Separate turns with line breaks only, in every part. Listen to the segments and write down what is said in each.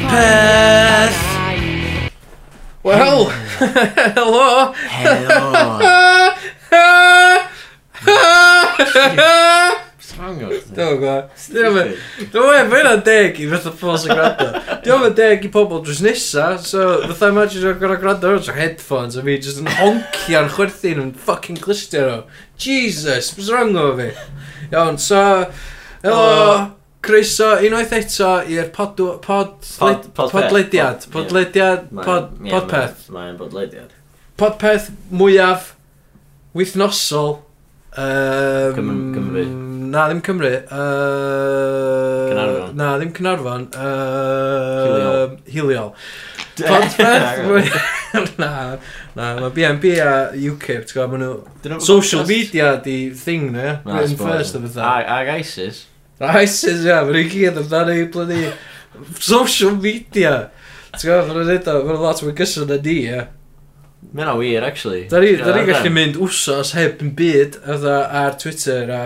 Podpeth!
Wel, helo!
Helo!
Dwi'n
Strango.
gwybod. Dwi'n gwybod. Dwi'n gwybod, mae hynna'n deg i fatha pobl sy'n gwrando. Dwi'n gwybod deg i pobl drws nesa, so fatha imagine o'r gwrando gwrando o'r headphones a fi jyst yn honcio'r chwerthin yn ffucking glistio nhw. Jesus, bys rong o fi. Iawn, so, helo,
Helo.
croeso unwaith eto i'r podw- pod...
Pod- podpeth.
Podlediad.
Pod- ie.
Podlediad, pod- podpeth.
Mae'n bodlediad.
podpeth mwyaf wythnosol um,
Cym- Cymru.
Na, ddim Cymru uh,
Caernarfon.
Na, ddim Cynarfon uh,
Hiliol.
Hiliol Podpeth mwy- Na, na, mae BNB a UKIP ti'n gwybod, maen nhw Social media di thing na, in first o bethau
Ag ISIS.
A ISIS, ia, mae'n i gyd amdano i blyni Social media Ti'n gwybod, mae'n rhaid o, mae'n lot mwy gysyn na ni, ia
Mae'n a wir, actually.
Da ni, da ni gallu mynd wsos heb yn byd ydda ar Twitter a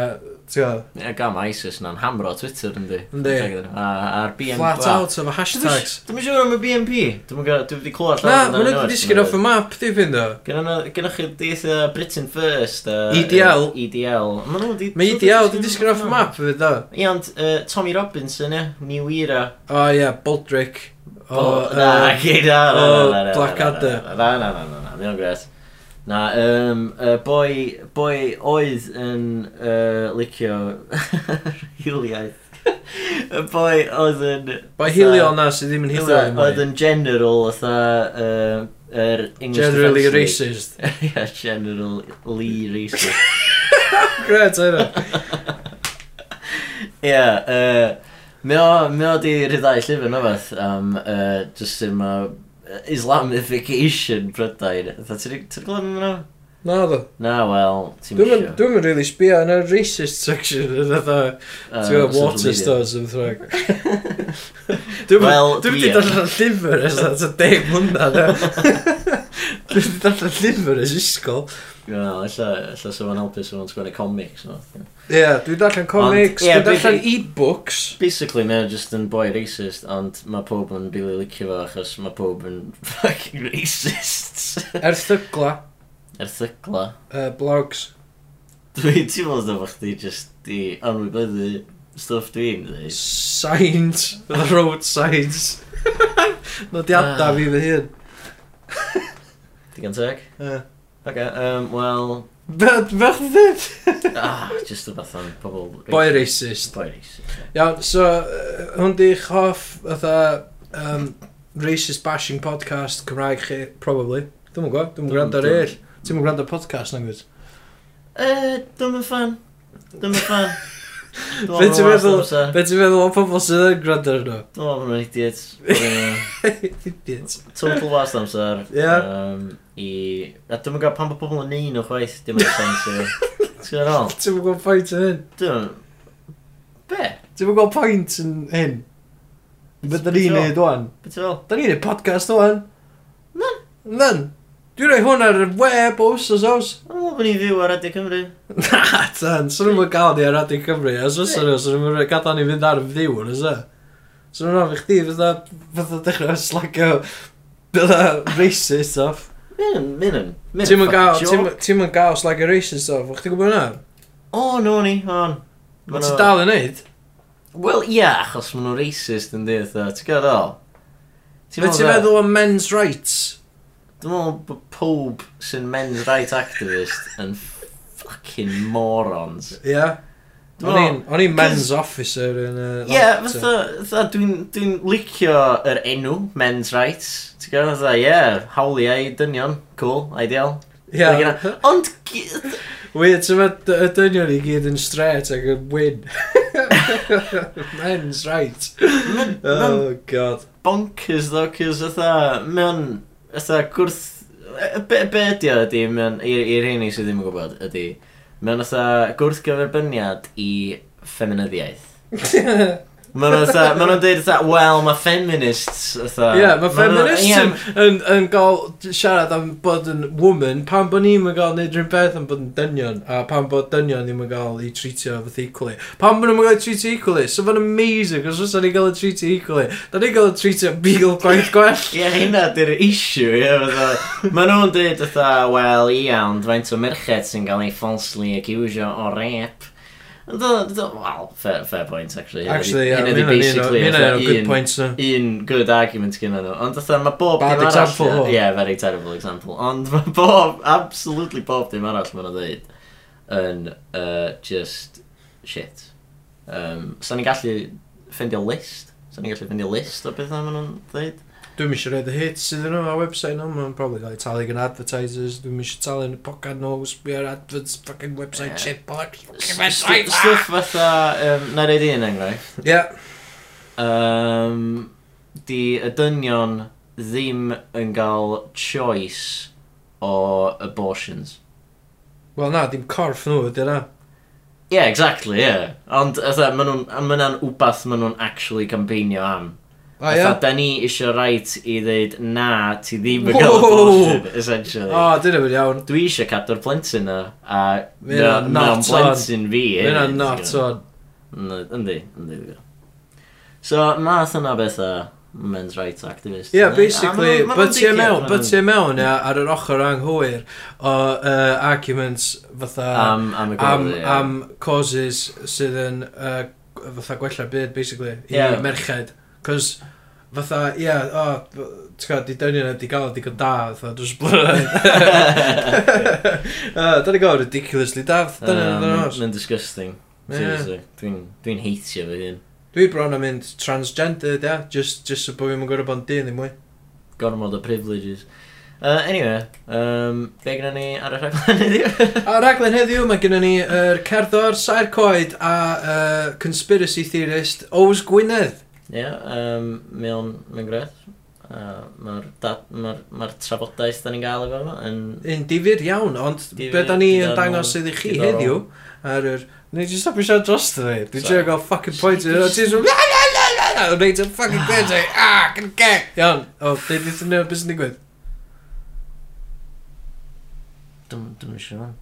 ti'n
Ie, gam ISIS na'n hamro Twitter, yndi.
Yndi.
A- A'r BNP.
flat out efo hashtags.
Dwi'n siŵr am y BNP. Dwi'n gwybod, dwi wedi clywed
Na, maen nhw wedi disgyn off y map, di fynd o.
Gynnwch chi deitha Britain First. uh,
EDL.
EDL. Ma' nhw wedi-
Mae EDL di disgyn off y map fydd o.
Ie, ond yy, Tommy Robinson, ie, New Era.
O ie, Baldric. O,
na,
yy,
gei, na, na,
o,
na, na, na,
Blackadder.
na, Na, na, na, na, na, ddim yn gres. Na, um, y boi, boi oedd yn uh, licio hiliaeth. Y boi oedd yn...
Bai hilio na sydd ddim yn hilio i
Oedd
mwy.
yn general, oedd uh, yr English
Generally
Defence League.
racist.
Ie, General Lee racist.
Gret, hynna.
Ie, yeah, uh, mi o di rhyddai llyfr na fath am uh, just sut mae Islamification Brydain. Dda, ti'n gwybod yn yno?
Na e. ddo.
Na, wel, ti'n
Dwi'n mynd really sbio yn y racist section yn ydda.
Ah,
Ti'n gwybod, water stores yn ddrwg. Dwi'n
Wel,
wedi
ie.
darllen llyfr ers at y deg mlynedd. e. Dwi wedi darllen llyfr ers ysgol.
Wel, ella, ella sef yn helpu sef yn sgwennu comics. No.
Ie, dwi darllen comics,
ie,
dwi
dwi-
darllen e-books.
Basically, mae o just yn boi racist, ond mae pob yn rili licio fo achos mae pob yn fucking racist.
Erthygla,
Erthygla.
uh, blogs.
Dwi'n teimlo dda fo chdi just di anwybyddu stwff dwi'n dweud.
Signs, the road signs. Nodiada
Ah.
fi fy hun.
Digon teg?
Ie.
Ok, um, wel...
Be- Bech ddyn?
ah, just rhywbeth am pobl...
Boi racist.
Boi reis.
Iawn, so, yy, hwn di hoff, fatha, um, racist bashing podcast Cymraeg chi, probably. Dwi'n gwybod, dwi'n gwrando ar e
Dwi'm-
eill. Ti'n gwrando ar podcast, nag wyt?
E, dwi'n mynd fan. Dwi'n mynd fan.
Be' ti'n meddwl- Be ti'n meddwl o pobl sydd yn gwrando ar nhw?
Dwi'n meddwl yn idiot. Yy,
Idiot.
Total was amser.
Ie.
Um, I... A dwi'n mynd pan bod pobl yn neud nhw chwaith. Dwi'n mynd sens i. e. Ti'n mynd ôl?
Ti'n gwybod pwynt yn hyn?
Dwi'n... Be?
Ti'n gwybod pwynt yn hyn? Be da ni'n neud o'n?
Be ti'n fel?
Da ni'n neud podcast o'n? Nan. Nan. Dwi'n rhoi hwn ar y web o os os os.
Dwi'n meddwl bod ni'n fyw ar Radio Cymru.
Na, tan. Swn nhw'n gael ni ar Radio Cymru. Os os nhw, swn nhw'n gadael ni fynd ar y fyddiw yn ysaf. Swn nhw'n ofyn chdi fydda, fydda dechrau slagio fydda racist off.
Mi'n... Mi'n...
Ti'n mynd gael, ti'n mynd gael slagio racist off. O'ch ti'n gwybod hwnna?
O, no ni, on. Ma'
Mae
nhw-
ti dal yn neud?
Wel, ie, yeah, achos maen nhw'n racist yn dweud, ti'n gwybod o?
Be ti'n meddwl o men's rights?
Dwi'n meddwl bod pob sy'n men's right activist yn fucking morons.
Ie.
Dwi'n
O'n i'n-
meddwl-
o'n i'n men's
Cos-
officer uh, yn y...
Ie, fatha, fatha, dwi'n dwi licio yr enw, men's rights. Ti'n gwybod, fatha, ie, yeah, hawliau dynion, cool, ideal.
Ie.
Like, Ond, gi-
Wyd, ti'n mynd y dynion i gyd yn stret ac yn win. men's right.
ma'n ma'n
Oh, god.
bonkers ddo, cys fatha, mewn, fatha, gwrth... e- Be, be ydi o ydi, mewn, i'r i'r rheini sydd ddim yn gwybod, ydi, mewn fatha gwrth gyferbyniad i ffeminyddiaeth. Mae nhw'n tha, ma nhw'n dweud tha, wel, mae feminists, tha.
Ie, mae
nhw'n-
feminist
ie,
yn, yn, yn gael siarad am bod yn woman, pan bod ni'n gael neud rhywun beth am bod yn dynion, a pan bod dynion ddim yn gael i treatio fath equally. Pan bod nhw'n gael i treatio equally, so fo'n amazing, os fysa ni'n gael i treatio equally, da ni'n gael i treatio beagle gwaith gwell.
Ie, hynna di'r issue, ie, fatha. Mae nhw'n dweud, fatha, wel, iawn, faint o merched sy'n cael ei falsely accusio o rep. Wel, fair, fair point, actually.
Actually, ie,
Hynna
mae'n
di basically
un o
fatha
good
un-
points na.
un good argument gyda nhw. Ond fatha, mae bob
Bad
dim arall...
example, oh. o.
Ie, yeah, very terrible example. Ond mae bob, absolutely bob dim arall maen nhw'n dweud yn uh, just shit. Um, Sa'n ni'n gallu ffeindio list? Sa'n ni'n gallu ffeindio list o bethau maen nhw'n dweud?
Dwi'n eisiau rhaid y hits iddyn nhw ar website nhw, mae'n probably gael ei talu gan advertisers, dwi'n eisiau talu yn y pocad nhw, we are adverts, fucking
Ie.
website, shit, bollocks, fucking
St-
website,
Stuff fatha, um, na reid un enghraifft,
Ie,
um, di y dynion ddim yn cael choice o abortions.
wel na, dim corff nhw, ydy na.
Ie, yeah, exactly, ie. Yeah. Ond, ytha, maen nhw'n ma nhw'n wbath maen nhw'n actually campeinio am.
O ie?
Ytha, da ni isio rhaid i ddeud na, ti ddim yn cael
Wow!
abortion, essentially.
O, dyna fydd iawn.
Dwi eisiau cadw'r plentyn na, a
Mae hynna'n
na'n
not on.
plentyn fi.
Mae
hefyd,
hwnna'n
ti'n gwbod?
not on.
Yndi, yndi, yndi. So, math yna bethau men's rights activist.
Ie, basically, but ie mewn, but ie mewn ia, ar yr ochr anghywir o uh, arguments fatha
Am, am y
am,
gwrdd, ie.
am causes sydd yn uh, fatha gwella'r byd, basically, i
Ie.
merched. Cos fatha, ie, o, ti'n gwybod, di dynion ydi gael digon da, fatha, dwi'n sblwyr. Dyna gael ridiculously da, fatha, dyna
Yym,
dyna nos.
Mae'n disgusting.
Ie.
Seriously. Dwi'n dwi'n heitio fy hun.
Dwi bron am mynd transgender, ia, just, just so bod fi'n gwrdd bod yn dyn i mwy.
Gormod o privileges. Uh, anyway, um, be gyda ni ar y rhaglen heddiw?
A raglen heddiw, mae gennym ni yr er cerddor, sair coed a uh, conspiracy theorist Ows Gwynedd.
Ie, um, mewn, mewn greth. Uh, Mae'r dat- ma'r- ma'r trafodaeth da ni'n gael efo fo yn...
Un difyr iawn, ond
Difyr,
be da ni yn
diddorol,
dangos iddi chi
diddorol.
heddiw ar yr... Neu jyst stopio siarad dros dda fi. Dwi'n
Sorry.
siarad gael fucking point i'r... Ti'n siarad... La la la la la! Dwi'n neud yn fucking gwed ei... Ah, can ge! Iawn. O, dwi'n dwi'n dwi'n dwi'n dwi'n digwydd.
Dwi'n dwi'n siŵr fan.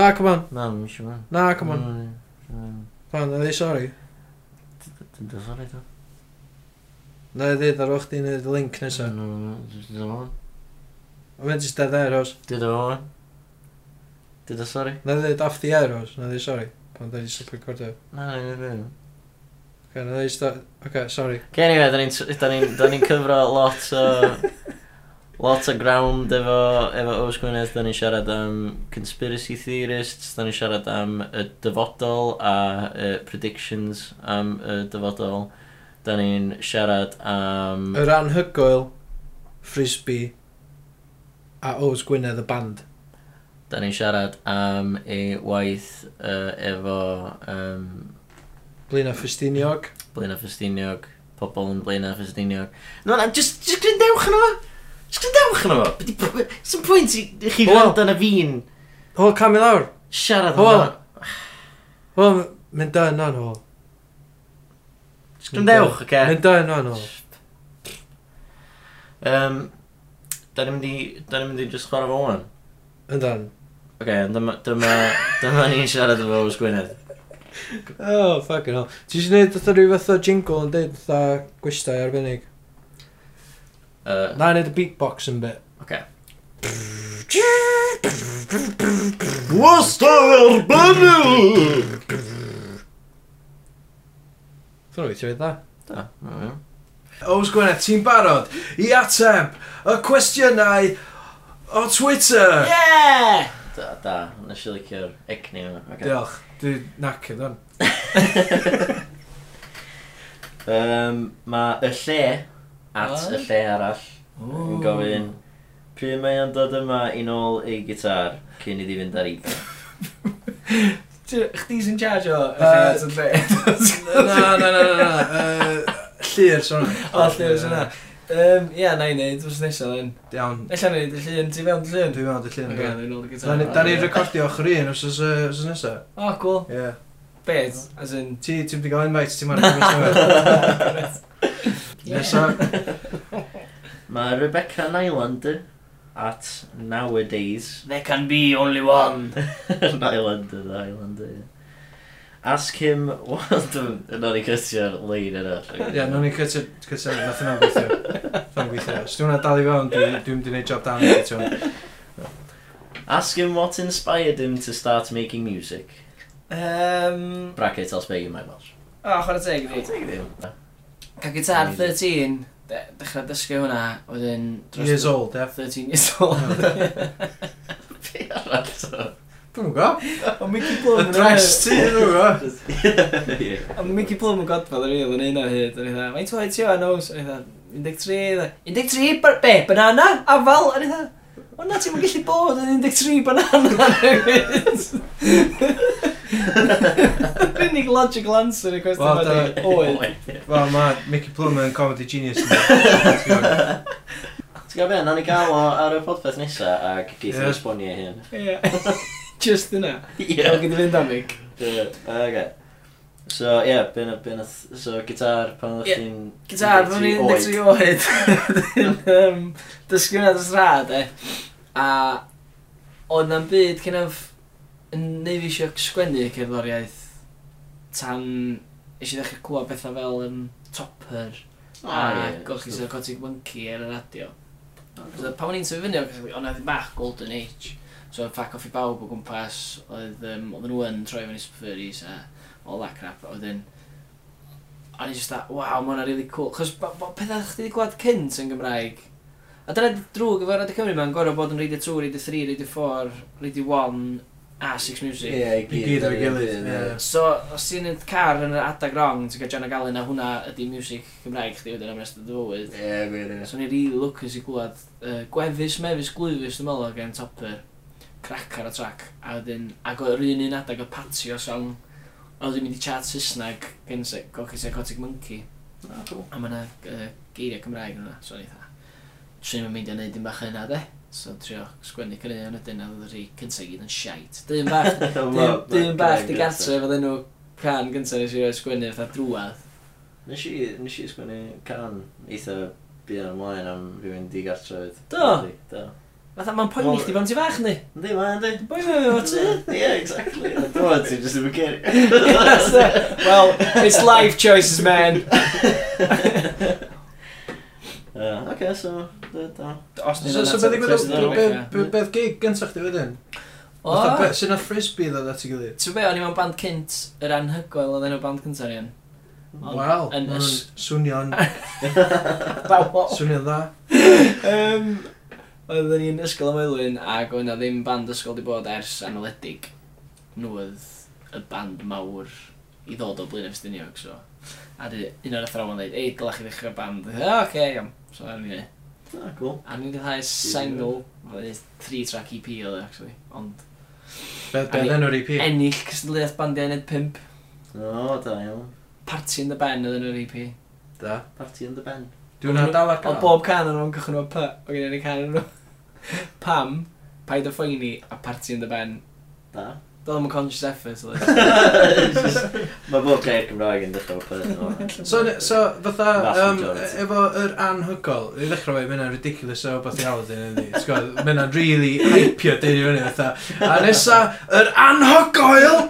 Na, come on.
Na, dwi'n siŵr fan.
Na, come
Mm.
on. Fan, na di sorry.
Dwi'n dwi'n sori to.
Na i ddweud ar o'ch di'n y link
Mm.
nesaf.
Did
Ond mae'n jyst dead air os.
I own? Did I sorry?
Na i ddweud off the air os. Na i ddweud sorry. Pan da i stopio recordio.
No, no, no, no.
Okay, na i ddweud... Okay, sorry.
Ok, anyway, da ni'n da ni'n- da ni'n cyfro lot o... Lot o ground efo, efo Oes Gwynedd, da ni'n siarad am conspiracy theorists, da ni'n siarad am y dyfodol a uh, predictions am y dyfodol, da ni'n siarad am...
Yr anhygoel, frisbee, a Oes Gwynedd y band.
Da ni'n siarad am ei waith uh, efo um,
Blina Ffestiniog.
Blaena Ffestiniog, pobl yn Blaena Ffestiniog. No, na, just, just gryndewch yno fo! Just gryndewch yno fo! Be' 'di pw- Sa'm pwynt i, i chi
Wel-
gwrando na fi'n
Hwyl, cam i lawr.
siarad
Wel-
yma.
Hwyl, mynd da yna yn hwyl.
Just gryndewch, oce?
Mynd da yna yn hwyl.
Um, da ni'n mynd i, da ni'n mynd i just chwarae fo o'n.
Yndan.
Oce, okay, dyma, dyma, dyma ni'n siarad efo Oes Gwynedd.
Oh, fucking hell. Ti eisiau gwneud dda rhyw fath o jingle yn dweud dda gwestai arbennig?
Uh,
Na, wneud y beatbox yn bit.
Oce. Wasta erbynu!
Dwi'n rhaid i ti dweud dda.
Da, na fi.
Oes Gwynedd, ti'n barod i ateb y cwestiynau o Twitter? Eh!
Yeah! Da, da, nes i licio'r egni yma. Oce.
Diolch. Dwi'n nacio dan.
Um, mae y lle, at
Wel.
y lle arall, yn gofyn, pryd mae o'n dod yma i nôl ei gitar cyn iddi fynd ar eiddo.
Chdi sy'n charge o y
Yy,
lled yn lle.
Na, na, na, na, na. Yy, Llyr, sôn.
O, lle oes yna. Yym, Ie, na i neud, wrth nesaf yn.
Iawn.
Ella na i neud y llun, ti fewn y llun?
Dwi'n meddwl dy
Ocê,
llun.
na i nôl y
Da
gyda.
ni- da ni'n recordio ochr un os oes nesaf.
O, cool.
Ie.
Beth, as in...
Ti, ti'n mynd i gael invite, ti'n mynd i gael Nesa,
Mae Rebecca Nylander at nowadays.
There can be only
Um,
one.
Nylander, Nylander, yeah. Ask him what the... Nog ni cysio lein yna.
ia, nhw'n i cytio, cytio, nath yna gweithio. Nath yna gweithio. Os dwi'n dal i fewn, dwi- dwi'n mynd i wneud job dan i ti hwn.
Ask him what inspired him to start making music.
Um,
Bracket, I'll speak in my Welsh.
o, oh, chwarae teg fi. Ca gitar 13, de- dechrau dysgu hwnna, wedyn... dros-
Years old, ia.
13 years old.
Be arall so?
Dwi'n gwybod.
O Mickey
Y
Plum
dres ti, dwi'n gwybod.
Ie.
A mae Mickey Plum yn godfod yr un o'n un o'r hyd. O'n i dda, mae'n twyd ti o'n nos. O'n i dda, 13. dda. 13? Ba- Be? Banana? Afal? O'n i dda, o na ti'n gallu bod yn 13 banana newid. Unig logical answer y cwestiwn
Wel,
yma di. Oed.
Wel, mae Mickey Plum yn comedy genius. Ti'n gwbod.
Ti'n gael be, na ni gael o ar y podpeth nesa ac geith
Ie.
ni esbonio hyn.
Ie. Just yna. Ie. O'n gyda fynd am mig.
Ie, Oce. So, ie, yeah, byn byn nath- So, gitar, pan oedd
Ie,
chi'n...
Gitar, fy ni'n 13 oed. Wedyn, yym, Dysgu hwnna dros rad, e. A oedd na'n byd kind of yn neud fi eisiau sgwennu cerddoriaeth tan eisiau ddechrau clywed bethau fel um, Topper Ah,
Ah,
a Golchi Sarcotic Monkey ar y radio. So, pan o'n i'n tyfu fyny, oedd yna ddim bach Golden Age. So, oedd ffac off i bawb o gwmpas, oedd um, nhw yn troi fewn i Spurries a all that crap. Oedd yn... A ni just that, waw, mae hwnna'n really cool. Chos ba- ba- pethau ydych chi wedi gweld cynt yn Gymraeg. A dyna di drwg efo Radio Cymru ma'n gorau bod yn Radio 2, Radio 3, Radio 4, Radio 1 a 6 Music.
Ie, i
I gyd ar y gilydd. ie.
So, os ti'n yn car yn yr adag wrong, ti'n cael John O'Gallon a hwnna ydi music Cymraeg chdi wedyn am rest o dy fywyd.
Ie, gwir, ie.
So, ni'n rili lwcus i gwlad uh, gwefus, mefus, glwyfus, dwi'n meddwl, gen Topper, crac ar y trac, a wedyn, ac o'r un un adag o patio song, a wedyn mynd i chat Saesneg gen se- Gogi Psychotic Monkey,
Ah, cool.
a mae'na uh, geiriau Cymraeg yn hwnna, so ni'n dda. Swn i'n mynd i wneud dim bach yna, de? So, trio sgwennu cyrraedd yn ydyn, a ddod rhi cyntaf i gyd yn siait. Dim bach Dim
Wel,
dim bach di
gyda-
gartre fod enw can gyntaf nes i roi sgwennu fatha drwad.
Nes i, nes i sgwennu can eitha byd ar ymlaen am rhywun digartrefyd.
Do?
Do.
Fatha ma'n poeni
Wel-
chdi pan ti fach ni.
Yndi, mae'n di.
Boi mewn efo ti.
Ie, exactly. Dwi'n ti just yn
Yes,
bygeri.
uh, Well, it's life choices, man.
Oce, so, da, da.
Os
Ie,
so, so
that's
beth
a question
ddigwyddodd,
arall,
be-
ie.
be- beth gig gyntaf chdi wedyn?
O,
Fatha, be- Sut na frisbee ddod at i gilydd?
ti'n be, o'n i mewn band cynt yr anhygoel oedd enw band cyntaf ni yn. Ond-
Wel,
yn
maen nhw'n
ys-
swnio'n,
Bawo.
swnio'n dda.
Yym, Oedden ni'n ysgol am Elwyn ac oedd na ddim band ysgol di bod ers anweledig. Nhw oedd y band mawr i ddod o Blaen Efstiniog, so. A di, un o'r athrawon dweud, ei, dylach chi ddechrau band. Oce, okay, iawn. So, ar ni.
Ah, cool.
A ni'n dweud single, oedd three track EP oedd e, actually. Ond
Beth
A ni-
beth enw'r EP?
ennill cystadleuaeth bandiau ned pimp.
O, da iawn.
Party in the Ben oedd yn yr EP.
Da.
Party in the Ben.
Dwi'n dal ar
Ond
gael.
bob can yn o'n cychwyn o'r P, o gen i'n can yn o'n. Pam, paid o ffoini a Party in the Ben.
Da.
Doedd o'n conscious effort, oedd e.
Mae bob gair Cymraeg yn dechrau o'r peth.
So, ne- so fatha,
Vast
um,
majority.
efo yr anhygol, i ddechrau fe, mae'n ridiculous o beth i hawdd yn ydi. T'gwod, Mae hynna'n really hypio dyn i fyny fatha. A nesa, yr anhygoel!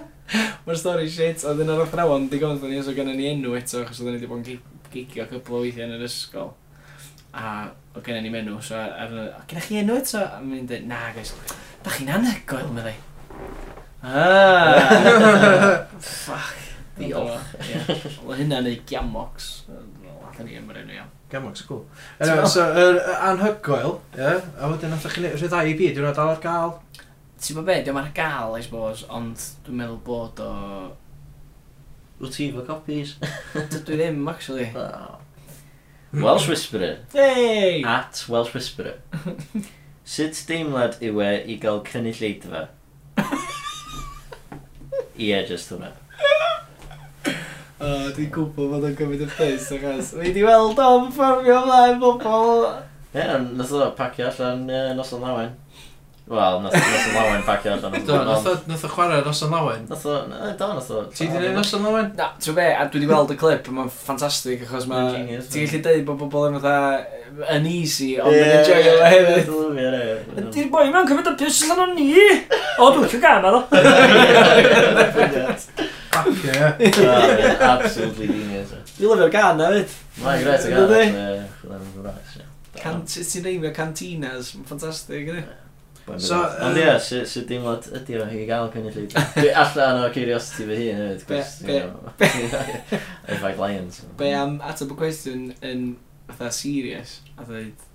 Mae'r stori shit, a ddyn ar athrawon digon ddyn ni os o gynnu ni enw eto, achos oedden ni wedi bod yn gi- gigio cwpl o weithiau yn yr ysgol. A o gynnu ni menw, so ar, ar, y- "O, gynna chi enw eto? A mi'n dweud, na guys, da chi'n anhygoel, meddai. Ah, fuck.
Diolch.
Wel hynna neu giamox. Alla ni yn mynd iawn.
Gamog's cool. Anyway, so, yr anhygoel, ie, a wedyn nath chi'n rhyddai i byd, dwi'n dal ar gael.
Ti'n bod be, diolch ar gael, I suppose, ond dwi'n meddwl bod o...
Wyt ti fo copies?
Dwi ddim, actually.
Da. Welsh Whisperer.
Hey!
At Welsh Whisperer. Sut deimlad yw e i gael cynnig leidfa? Ie, just hwnna.
O, dwi'n gwybod bod o'n gymryd y ffys, achos mi wedi weld o'n perfformio ymlaen bobl.
Ie, ond nath o pacio allan uh, noson lawen. Wel, nath nath y lawen pacio allan.
Do, nath o- nath o chwarae nos yn lawen.
Nath o... na, Do, nath o...
Ti di neud nos yn lawen?
Na, ti'n be, a dwi wedi gweld y clip, a mae'n ffantastig, achos mae...
Mae'n genius,
Ti'n
man.
gallu dweud bod bobl yn fatha yn easy, ond yn enjoy o hefyd. Di'r boi mewn cymryd y piss allan o ni! O, dwi'n cio gan addo.
Ac ie.
Absolutely genius.
Dwi'n lyfio'r gan hefyd.
Mae'n gret o gael.
Dydi?
yy, chwilem yn fras, ie. Da.
Cant- Ti'n neimio cantinas, mae'n ffantastig, ydy?
Boi'n
So,
brilliant. Ond
yy,
ie, sy- sy'n deimlad ydi o i gael cynnyllid. Dwi allan o curiosity fy hun hefyd. 'cos,
Be-
you know, I fight lions.
Be am ateb y cwestiwn yn fatha serious, a dweud...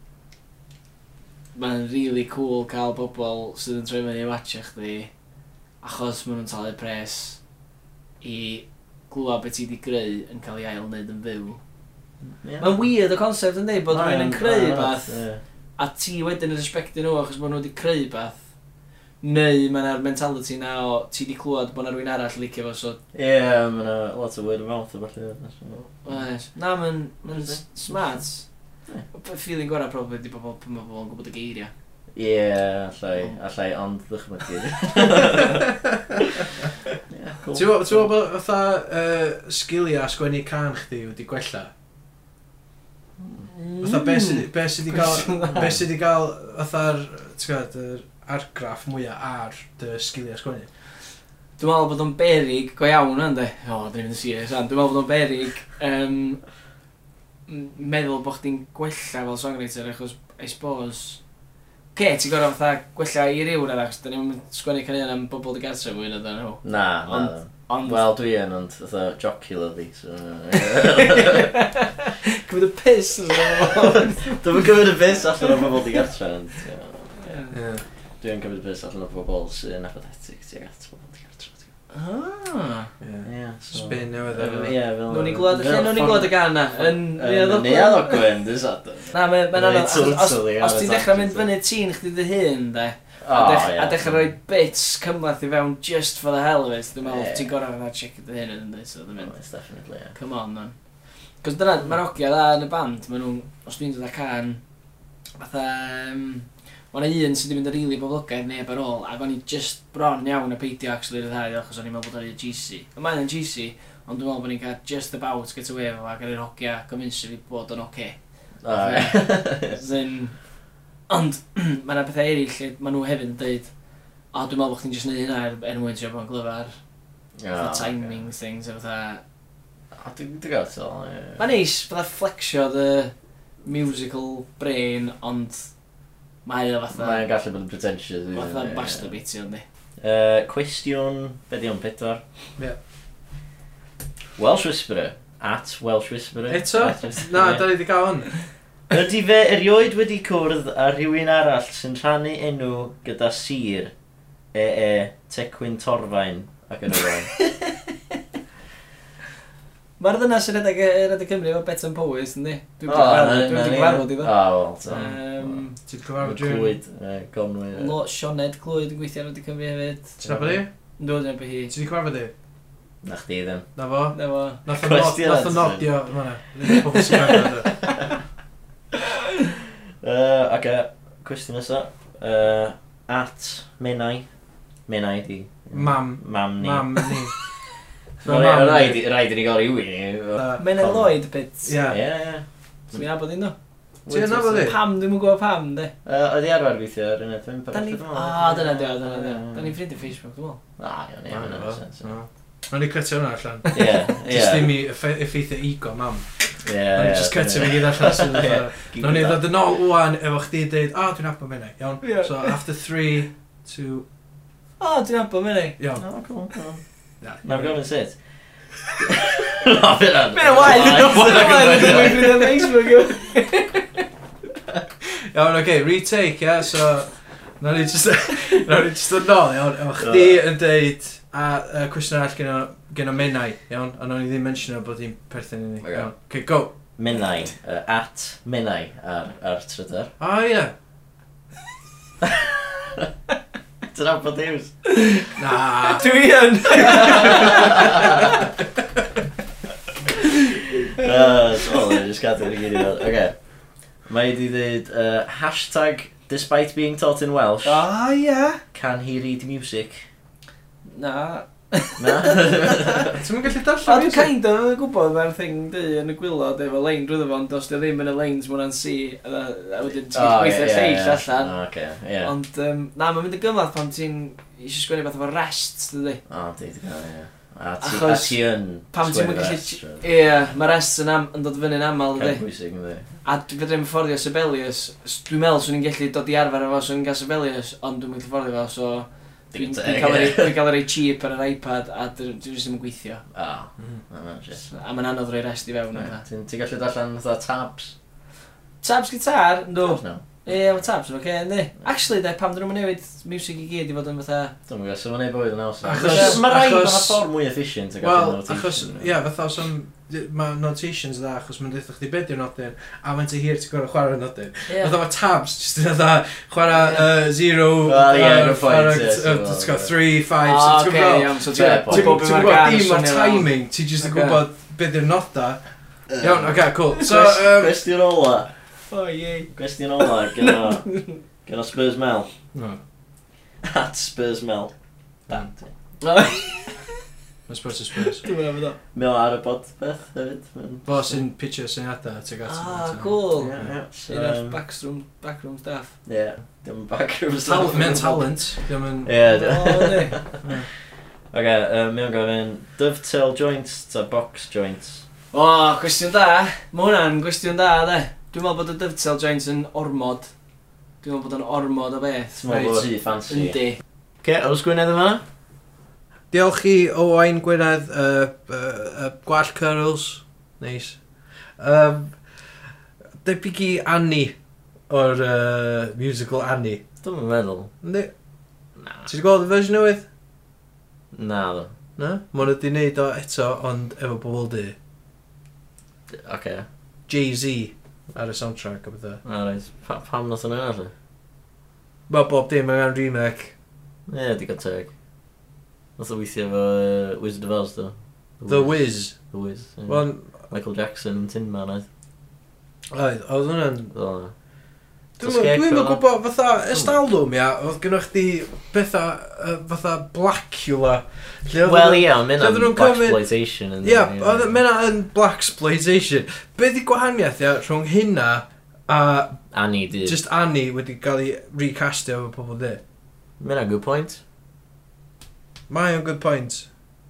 Mae'n really cool cael bobl sydd yn troi mewn i watcha chdi, achos maen nhw'n talu pres i glwad beth ti wedi greu yn cael ei ail wneud yn fyw.
Ie.
Mae'n weird y concept yn dweud bod
Mae
rhywun yn creu
mae o'n
bath,
nuts, ie.
a ti wedyn yn respectio nhw achos maen nhw wedi creu bath, neu mae yna'r mentality na o ti wedi clywed bod yna rhywun arall licio fo, so
Ie, mae yna lot o word of mouth o falle.
Oes. Na, mae'n mae'n s- smart.
Ie.
Y Feeling gorau probably di bobl pan mae bobl yn gwybod y geiriau.
Ie, allai, allai, ond ddychmygu. Ie, cool.
Ti'n gwbo- ti'n gwbo bod fatha yy, sgiliau a sgwennu can chdi wedi gwella? Fatha be sydd be sy 'di gael...
Cwestiwn dda.
Mm. Be sydd wedi gael fatha'r... Ti'n gwybod, yr argraff mwyaf ar dy sgiliau sgwennu?
Dwi'n meddwl bod o'n berig go iawn ynddo. O, dwi'n mynd yn serious rhan. Dwi'n meddwl bod o'n berig um, meddwl bod chdi'n gwella fel songwriter achos, I suppose... Ce, ti'n gorau fatha gwella i ryw na achos da ni'n sgwennu canyon am bobl dy gartre mwy na dyn nhw.
Na, na.
Ond- Ond...
Wel, dwi yn, ond fatha jocularly, so...
Cymryd y piss yn
Dwi'n cymryd y bus allan o bobl di gartra, ond... ie.
Ie.
Dwi'n cymryd y bus allan o bobl sy'n apathetic, ti'n gat bobl di gartra. ti'n
Ah.
gwbod.
Ie.
Ie, so...
Spin newydd ar
Ie, fel...
Nw'n i glwad y lle, nw'n i glwad y gan na. Yn
Ni a ddogwen, dwi'n sad.
Na, mae'n
Reit,
ma anodd. achos Os,
totally,
os ti'n
yeah,
dechrau mynd
totally.
fyny tîn chdi dy hun, de,
O,
a dech-
ie.
a dechrau rhoi bits cymlaeth i fewn just for the hell of it, dwi'n meddwl
Ie.
ti'n gorau fydda chick dy hun yn dweud, so dwi'n mynd,
It's definitely, ie.
come on, man. Cos dyna, mae'r ogia dda yn y band, maen nhw'n, os dwi'n dod â can, fatha, um, Mae'n un sydd wedi mynd yn rili boblogaidd neb ar ôl, ac o'n i just bron iawn y peidio actually ryddhau achos o'n i'n meddwl bod o'n GC. Y mae'n yn GC, ond dwi'n meddwl bod ni'n cael just about get away efo fo, ac yn yr hogia convince fi bod o'n oce. Okay.
O, ie.
Zyn... Ond, mae yna pethau eraill lle maen nhw hefyd yn deud O, dwi'n meddwl bod chdi'n just neud hynna er, er mwyn trio bod yn glyfar
O,
The
ocê.
timing things a fatha
O, Dwi'n dwi'n gael to, ie.
Mae'n neis, fatha flexio the musical brain Ond mae o fatha
Mae'n gallu bod yn pretentious. isn't it?
Fatha
Ie.
masturbate o'n di
Yy, Cwestiwn, be di o'n pedwar?
Ie.
Welsh Whisperer. At Welsh Whisperer.
Eto?
At Whisperer.
Na, da ni wedi cael hwn.
Ydy fe erioed wedi cwrdd â rhywun arall sy'n rhannu enw gyda sir e e tecwyn torfain ac yn y rhaid.
Mae'r ddynas yn redeg yr Edeg Cymru efo Bet yn Powys, yndi? Dwi'n dwi'n gwarfod i
O,
ddo
wel, ta.
Yym,
Ti'n
Mae
cyfarfod rhywun?
Clwyd, yy, Conwy. yy.
Lo Sioned Clwyd yn gweithio ar Edeg Cymru hefyd
Ti'n nabod i?
Dwi'n dwi'n by hi
Ti wedi cyfarfod i?
Na chdi ddim.
Na fo?
Na fo
Nath o nod-
Cwestiwn
nath o
answered.
nodio. Ma' na. Nid pobl sy'n e. gwrando.
Yy, ac e, cwestiwn nesaf. Yy, At menai. Menai di.
Mam.
Mam ni.
Mam ni.
Wel, ie, Rhaid i- rhaid i ni gael rhywun i.
Da.
Mae'n
Pam?
Lloyd bit
Ie.
Ie, ie.
Dwi'n abod un nhw
Ti yn nabod i?
Pam, dwi'n mwyn gwybod pam, de
Yy, Oedd i arfer gweithio ar yna, dwi'n
Da ni... A, dyna di o, dyna di o. Da ni'n ffrindiau Facebook, dwi'n meddwl.
Ah, iawn,
Na,
iawn,
na
iawn,
fo.
iawn.
Na. Nawn ni cytio hwnna allan.
Ie, ie.
Just ddim i effe- effeithio ego mam.
Ie,
Nawn ni
ie,
just cytio fi
dyna-
gyd allan. sy'n
Ie.
fatha- Nawn ni ddod yn ôl wwan efo chdi deud, a dwi'n abod mynd iawn.
Ie.
So after 3, 2,
O, dwi'n abod, mynd ei.
iawn.
O, cool, cool.
Na.
Nawr gofyn sut. Na, fe na.
Mae'n wael, dwi'n wael, dwi'n mwyn ffrindiau Facebook, yw.
Iawn, oce, okay, retake, ia, so... Nawr ni just... Nawr ni just yn ôl, iawn. Efo chdi yn deud... A uh, cwestiwn arall gen o, gen o menai, iawn. A nawr ni ddim mentiono bod hi'n perthyn i ni.
Ocê.
Iawn. Okay, go.
Minnau, yy, at Minnau ar, ar Twitter.
O, oh, ie. Yeah.
Dyna bod news.
Na.
Dwi yn.
Yy, so, just gadw i'r gyd i ddod. Oce. Mae di ddweud hashtag Despite being taught in Welsh,
O, ia.
can he read music?
Na.
Na?
Ti'n gallu
Ond
darllen music?
kind of yn gwybod mae'r thing di yn y gwylod efo lein drwyddo fo, ond os di o ddim yn y leins mwyn an si, a a wedyn ti'n
Oh,
gallu gweithio'r lleill allan.
O, oce, ie.
Ond, um, na, mae'n mynd yn gymlaeth pan ti'n eisiau sgwennu beth efo rest, dydy.
O, di, di, ie. A ti- a
Achos
ti yn...
Pam ti'n
sgwennu
mynd
rest,
gallu...
so-
Ie, mae rest yn, am, yn dod fyny'n aml,
Cael
dydy.
bwysig, ynddi.
A dwi fedrem fforddio Sibelius. S- Dwi'n meddwl swn i'n gallu dod i arfer efo swn i'n cael Sibelius, ond dwi'n gallu fforddio fo, so... Dwi'n dwi'n cael ei- dwi'n cael yr ei cheap ar yr iPad, a dwi- dwi jyst ddim yn gweithio.
O,
Mm.
na, na, shit.
A mae'n anodd rhoi rest i fewn.
Ie.
yna.
Ti'n ti'n gallu darllen fatha tabs?
Tabs gitar, yndw.
No.
Ie, mae tabs yn oce, ynddi. Actually, de, pam dyn nhw'n newid music i gyd i fod yn fatha...
Dwi'n gwybod, sy'n ei bwyd yn awesome.
Achos-
Achos, mae rai
achos-
mae'n ffordd mwy efficient o
Wel,
gadw notation.
achos, ie, fatha os am... Mae notations dda, achos mae'n dweud chdi beth yw'r nodyn, a mae'n ti hir ti'n gorau chwarae'r nodyn.
Ie.
Fatha mae tabs, jyst yn fatha, chwarae uh, zero,
Wel, ie,
uh,
good point,
chwarae,
ie,
uh,
ti'n
ti'n
gweld,
gwybod, three, five, so
Ah,
ti'n
oce,
gwybod,
iawn, so
Fair
ti'n
point.
ti'n gwybod
ti'n gwybod
beth mae'r gan
dim o
swnio fel.
timing, ti'n jyst yn
Ocê.
gwybod beth yw'r noda. Iawn, oce, cool. So,
Cwest-
yym,
Cwestiwn ola.
O, ie.
Cwestiwn ola gyda gyda Spurs Mel.
no,
At Spurs Mel. Dan.
Dwi'n
mae'n Spurs is Spurs.
mynd am ydo.
Mel ar y bod beth hefyd. Ma'n-
Fo sy'n pitcher syniadau, ti'n gwybod.
Ah, cool.
Ie, ie. So,
Un o'r
yym,
backroom, backroom staff.
Ie. Dim backroom stuff.
Mae'n talent, ddim yn...
Ie.
O, ynddi.
Ok, yy, mae o'n gofyn dovetail joints ta box joints.
O, cwestiwn da. Mae hwnna'n cwestiwn da, de. Dwi'n meddwl bod y dovetail joint yn ormod. Dwi'n meddwl bod yn ormod o beth.
Ti'n meddwl bod o rhy fancy.
Yndi.
Ok, oes gwynedd yma?
Diolch i Owain Gwynedd, uh, uh, uh, Gwall Curls, neis. Um, debyg i Annie, o'r uh, musical Annie.
Dwi'n meddwl.
Yndi?
Na.
Ti wedi gweld y fersiwn newydd?
Na, ddo.
Na? Mae nhw wedi gwneud o eto, ond efo bobl di.
Ok.
Jay-Z ar y soundtrack o bethau.
Alright. Pa, pam nath o'n yna?
Mae bob dim yn remake.
Ie, digon teg. Nath o weithio efo uh, Wizard of Oz, do.
The Wiz.
The Wiz. ie.
Wel,
Michael Jackson yn Tin Man, oedd.
oedd, oedd hwnna'n
Fel yna.
Dwi'm
Does
yn
cake
dwi'm yn
fel 'na?
gwybod, fatha, estalwm, ia, oedd gynnwch chdi bethau, uh, fatha Blackula. Lle oedd
Wel,
nhw-
ie, ond mynd
Oedden
am
nhw'n
Black
cymryd-
Exploitation. yn-
Ia, oedd mynd yn Blaxploitation. Be di gwahaniaeth, ia, rhwng hynna a
Annie, di.
just Annie wedi cael ei recastio efo pobl di?
Mynd am good point.
Mae o'n good point.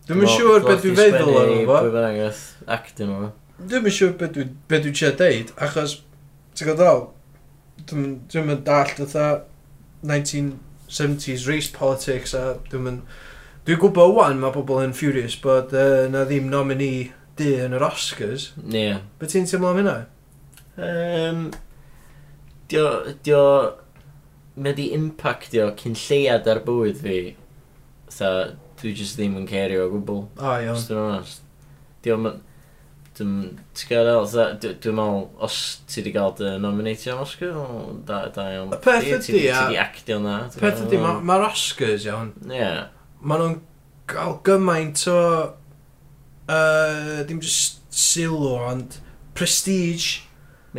Dwi'n yn siŵr beth dwi'n feddwl ar
efo.
efo.
Pwy bynnag oedd acting o.
Dwi'n yn siŵr beth dwi'n be dwi siarad deud, achos, ti'n gwybod dal, dwi'n yn dallt fatha 1970s race politics a dwi'n yn... Dwi'n gwybod wan mae pobl yn furious bod uh, na ddim nominee di yn yr Oscars.
Ie.
Be ti'n teimlo am hynna?
Um, dio, dio, mae di impactio cynlleiad ar bywyd fi. Tha, dwi just ddim yn cerio o gwbl.
O, iawn.
Os dwi'n onest. Diolch yn... Dwi'n... Ti'n gael el, dda- dwi- dwi'n meddwl, os ti wedi cael dy nominatio am Oscar, o, da, da iawn.
Y peth
Ti- ti-
ydi,
Ti
a-
wedi actio na.
Peth ydy, ma- mae'r Oscars iawn,
Ie.
maen nhw'n cael gymaint o, uh, dim just sylw, ond prestige.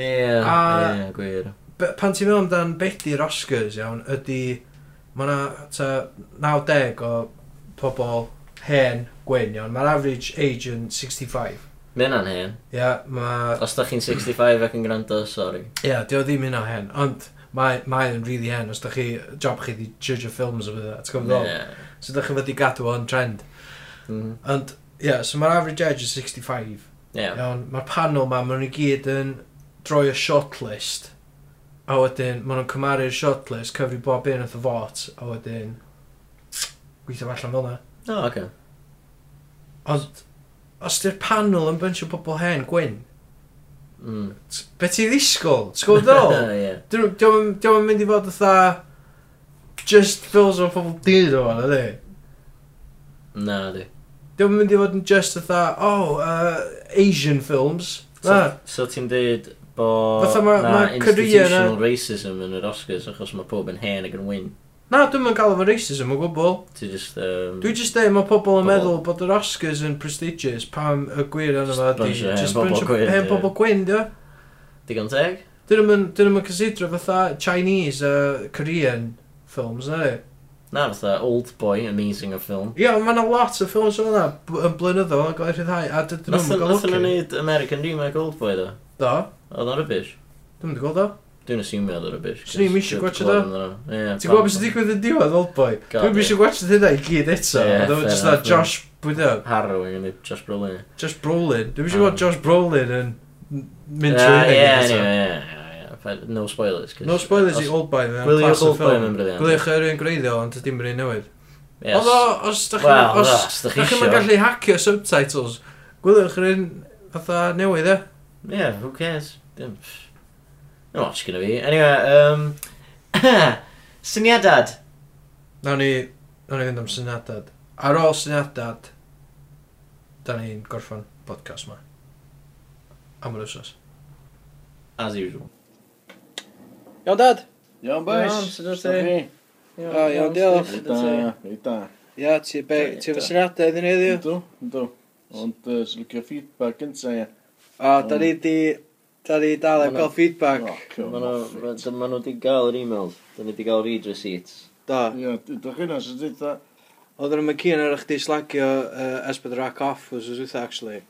Ie,
A-
ie, gwir.
Be- Pan ti'n meddwl amdan beth ydy'r Oscars iawn, ydy, mae yna ta 90 o pobl hen gwyn iawn, mae'r average age yn 65.
Mae hynna'n hen.
Ia, mae,
Os da chi'n 65 ac yn gwrando, sori.
ia, di o ddim un o hen, ond mae, mae yn really hen, os da chi, job chi di judge o ffilms o bydda, ti'n gwybod?
Ie.
So da chi fod i gadw o'n trend.
Mhm.
Ond, ia, yeah, so mae'r average age is 65.
Ie.
Iawn, mae'r panel ma, maen nhw i gyd yn droi y shortlist. A wedyn, maen nhw'n cymaru'r shortlist, cyfri bob un o'r fot, a wedyn, gweithio fo allan fel na.
O, oce.
Ond, os di'r panel yn bunch o bobl hen gwyn,
Mm.
t- be ti ddisgwyl? T'w gwybod ddol?
Ie.
Diolch yn mynd i fod fatha, just fills o pobl dyn o fan, ydy?
Na, di.
Diolch yn mynd i fod yn just fatha, oh, uh, Asian films.
So,
Na,
so ti'n dweud bod
Fatha ma-
na
ma' Korea
institutional racism yn yr Oscars achos mae pob yn hen ac yn wyn.
na dwi'n mynd gael efo racism o gwbl.
Ti'n just... Um,
Dwi just dweud, mae pobl
Pobol.
yn meddwl bod yr Oscars yn prestigious pam y gwir yna
Just
fo di.
bunch o hen
Just
bobl
bunch o
gwyn,
hen
ie.
bobl gwyn, di o?
Digon teg?
Dyn nhw'n dyn nhw'm yn cysidro fatha Chinese a Korean films, na ni?
Na, fatha Old Boy, amazing o ffilm.
Ie, ond mae yna lot o ffilms o'n yna b- yn blynyddol yn gael ei rhyddhau, a dydyn nhw'n
Nothen
gael
nhw'n
oci.
neud American remake Old Boy, do.
Do,
Oedd o'n rybys.
dwi'n mynd i gweld o.
Dwi'n asiwmio oedd o'n rybys.
Swn i'm isio gwatsiad o. Ti'n gwybod beth sy'n digwydd yn diwedd, old boy?
God,
Dwi'n
ie.
mysio gwach hynna i gyd eto.
Ie,
Dwi'n
fair
just that
enough,
Josh, bwyd o,
Harrowing yn neud Josh Brolin.
Josh Brolin. Dwi'n mysio gwach
Um.
Josh Brolin yn mynd
Ah,
trwy hynny
ie,
eto.
anyway, ie, ie, ie. But No spoilers. 'cause-
No spoilers i
os-
Old Boy, mae'n
Gwylio'r
class o
Old Boy, mae'n
ffilm.
briliant.
Gwyliwch yr un greiddiol, ond dim yr un newydd.
Yes.
Ond o- os da
Wel,
chi...
na,
Os
os dach
da
chi
chi
isio.
gallu hacio subtitles, gwyliwch yr un fatha newydd, e?
Yeah, who cares? Dim. No watch gonna be. Anyway, um Syniadad.
Nawn ni... Nawn ni fynd am syniadad. Ar ôl syniadad, da ni'n gorffan podcast ma. Am yr wsos.
As usual.
Iawn, dad?
Iawn,
Iawn,
boys.
sut wyt ti?
Iawn,
O, iawn, diolch.
Rwy'n da, rwy'n da.
Ia, ti be- ti efo syniadau iddyn ni heddiw?
Yndw, yndw. Ond uh, sy'n licio feedback gynta, ia.
O, da ni di... Da ni dal am gael feedback.
Ma' nhw ma' nhw 'di gael yr emails. 'Dyn ni 'di gael read receipts.
Do.
Ia, dydych chi'n as ydw
Oedd yn McKeon ar eich di slagio uh, Esbyd Rack Off was was with actually.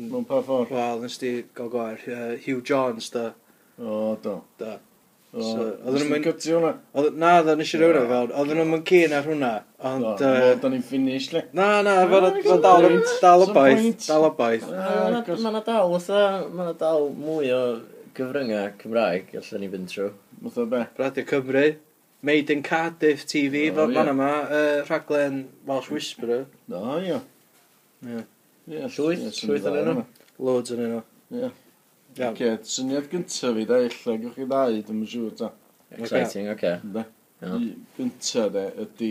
Mewn pa ffordd?
Wel, nes di gael gwair. Uh, Hugh Jones, da.
O, do.
Da.
O,
So, oedden
Oedden
nhw'n mynd-
nhw'n gytio hwnna.
Oedd, na, dda nes i rhywun fel. Oedd yn McKeon ar hwnna.
Do,
Ond...
o,
yy,
da ni'n finish, le.
Na, na, fel
Ah,
fel dal,
good point.
dal o
Some
boeth.
points.
Dal o boeth.
Ah,
Ma' 'na-
gos-
ma' 'na dal fatha ma' 'na dal mwy o gyfryngau Cymraeg allan ni fynd trwy.
Mwtho be.
Radio Cymru. Made in Cardiff TV,
O,
fel
ie.
fan yma. Uh, rhaglen Welsh Whisperer.
Do, ia.
Ie.
Ia,
Llwyth,
ia, sy'n
llwyth
dda,
ynyn nhw.
hwnna.
Loads yn yno.
Ie.
Iawn.
Oce, syniad gynta fi, da, illa, gwch chi ddau, dwi'n siŵr, da.
Exciting, oce.
Ynde?
Iawn.
I- Gynta, de, ydi